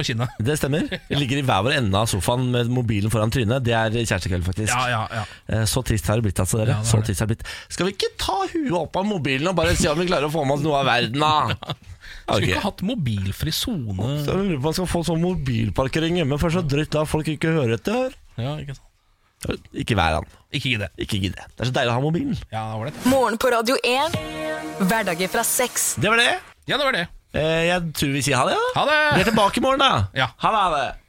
på kinnet. Det stemmer. Vi ligger i hver vår ende av sofaen med mobilen foran trynet. Det er kjærestekveld, faktisk. Ja, ja, ja. Eh, Så trist har det blitt, altså. dere Ja, det er Så det. trist har det blitt Skal vi ikke ta huet opp av mobilen og bare se om vi klarer å få med oss noe av verden, da? Skulle Ok. ikke hatt mobilfri sone. Så jeg lurer på om man skal få sånn mobilparkering hjemme, for så drøyt da folk ikke hører etter. Ja, ikke sant. Ikke vær han. Ikke gidd det. Ikke gidd det. Det er så deilig å ha mobilen. Ja, det var det. Morgen på Radio 1. Hverdager fra seks. Det var det. Ja, det var det. Eh, Jeg tror vi sier ha det, da. Ha det! Vi er tilbake i morgen, da. Ja. Ha det. Ha det.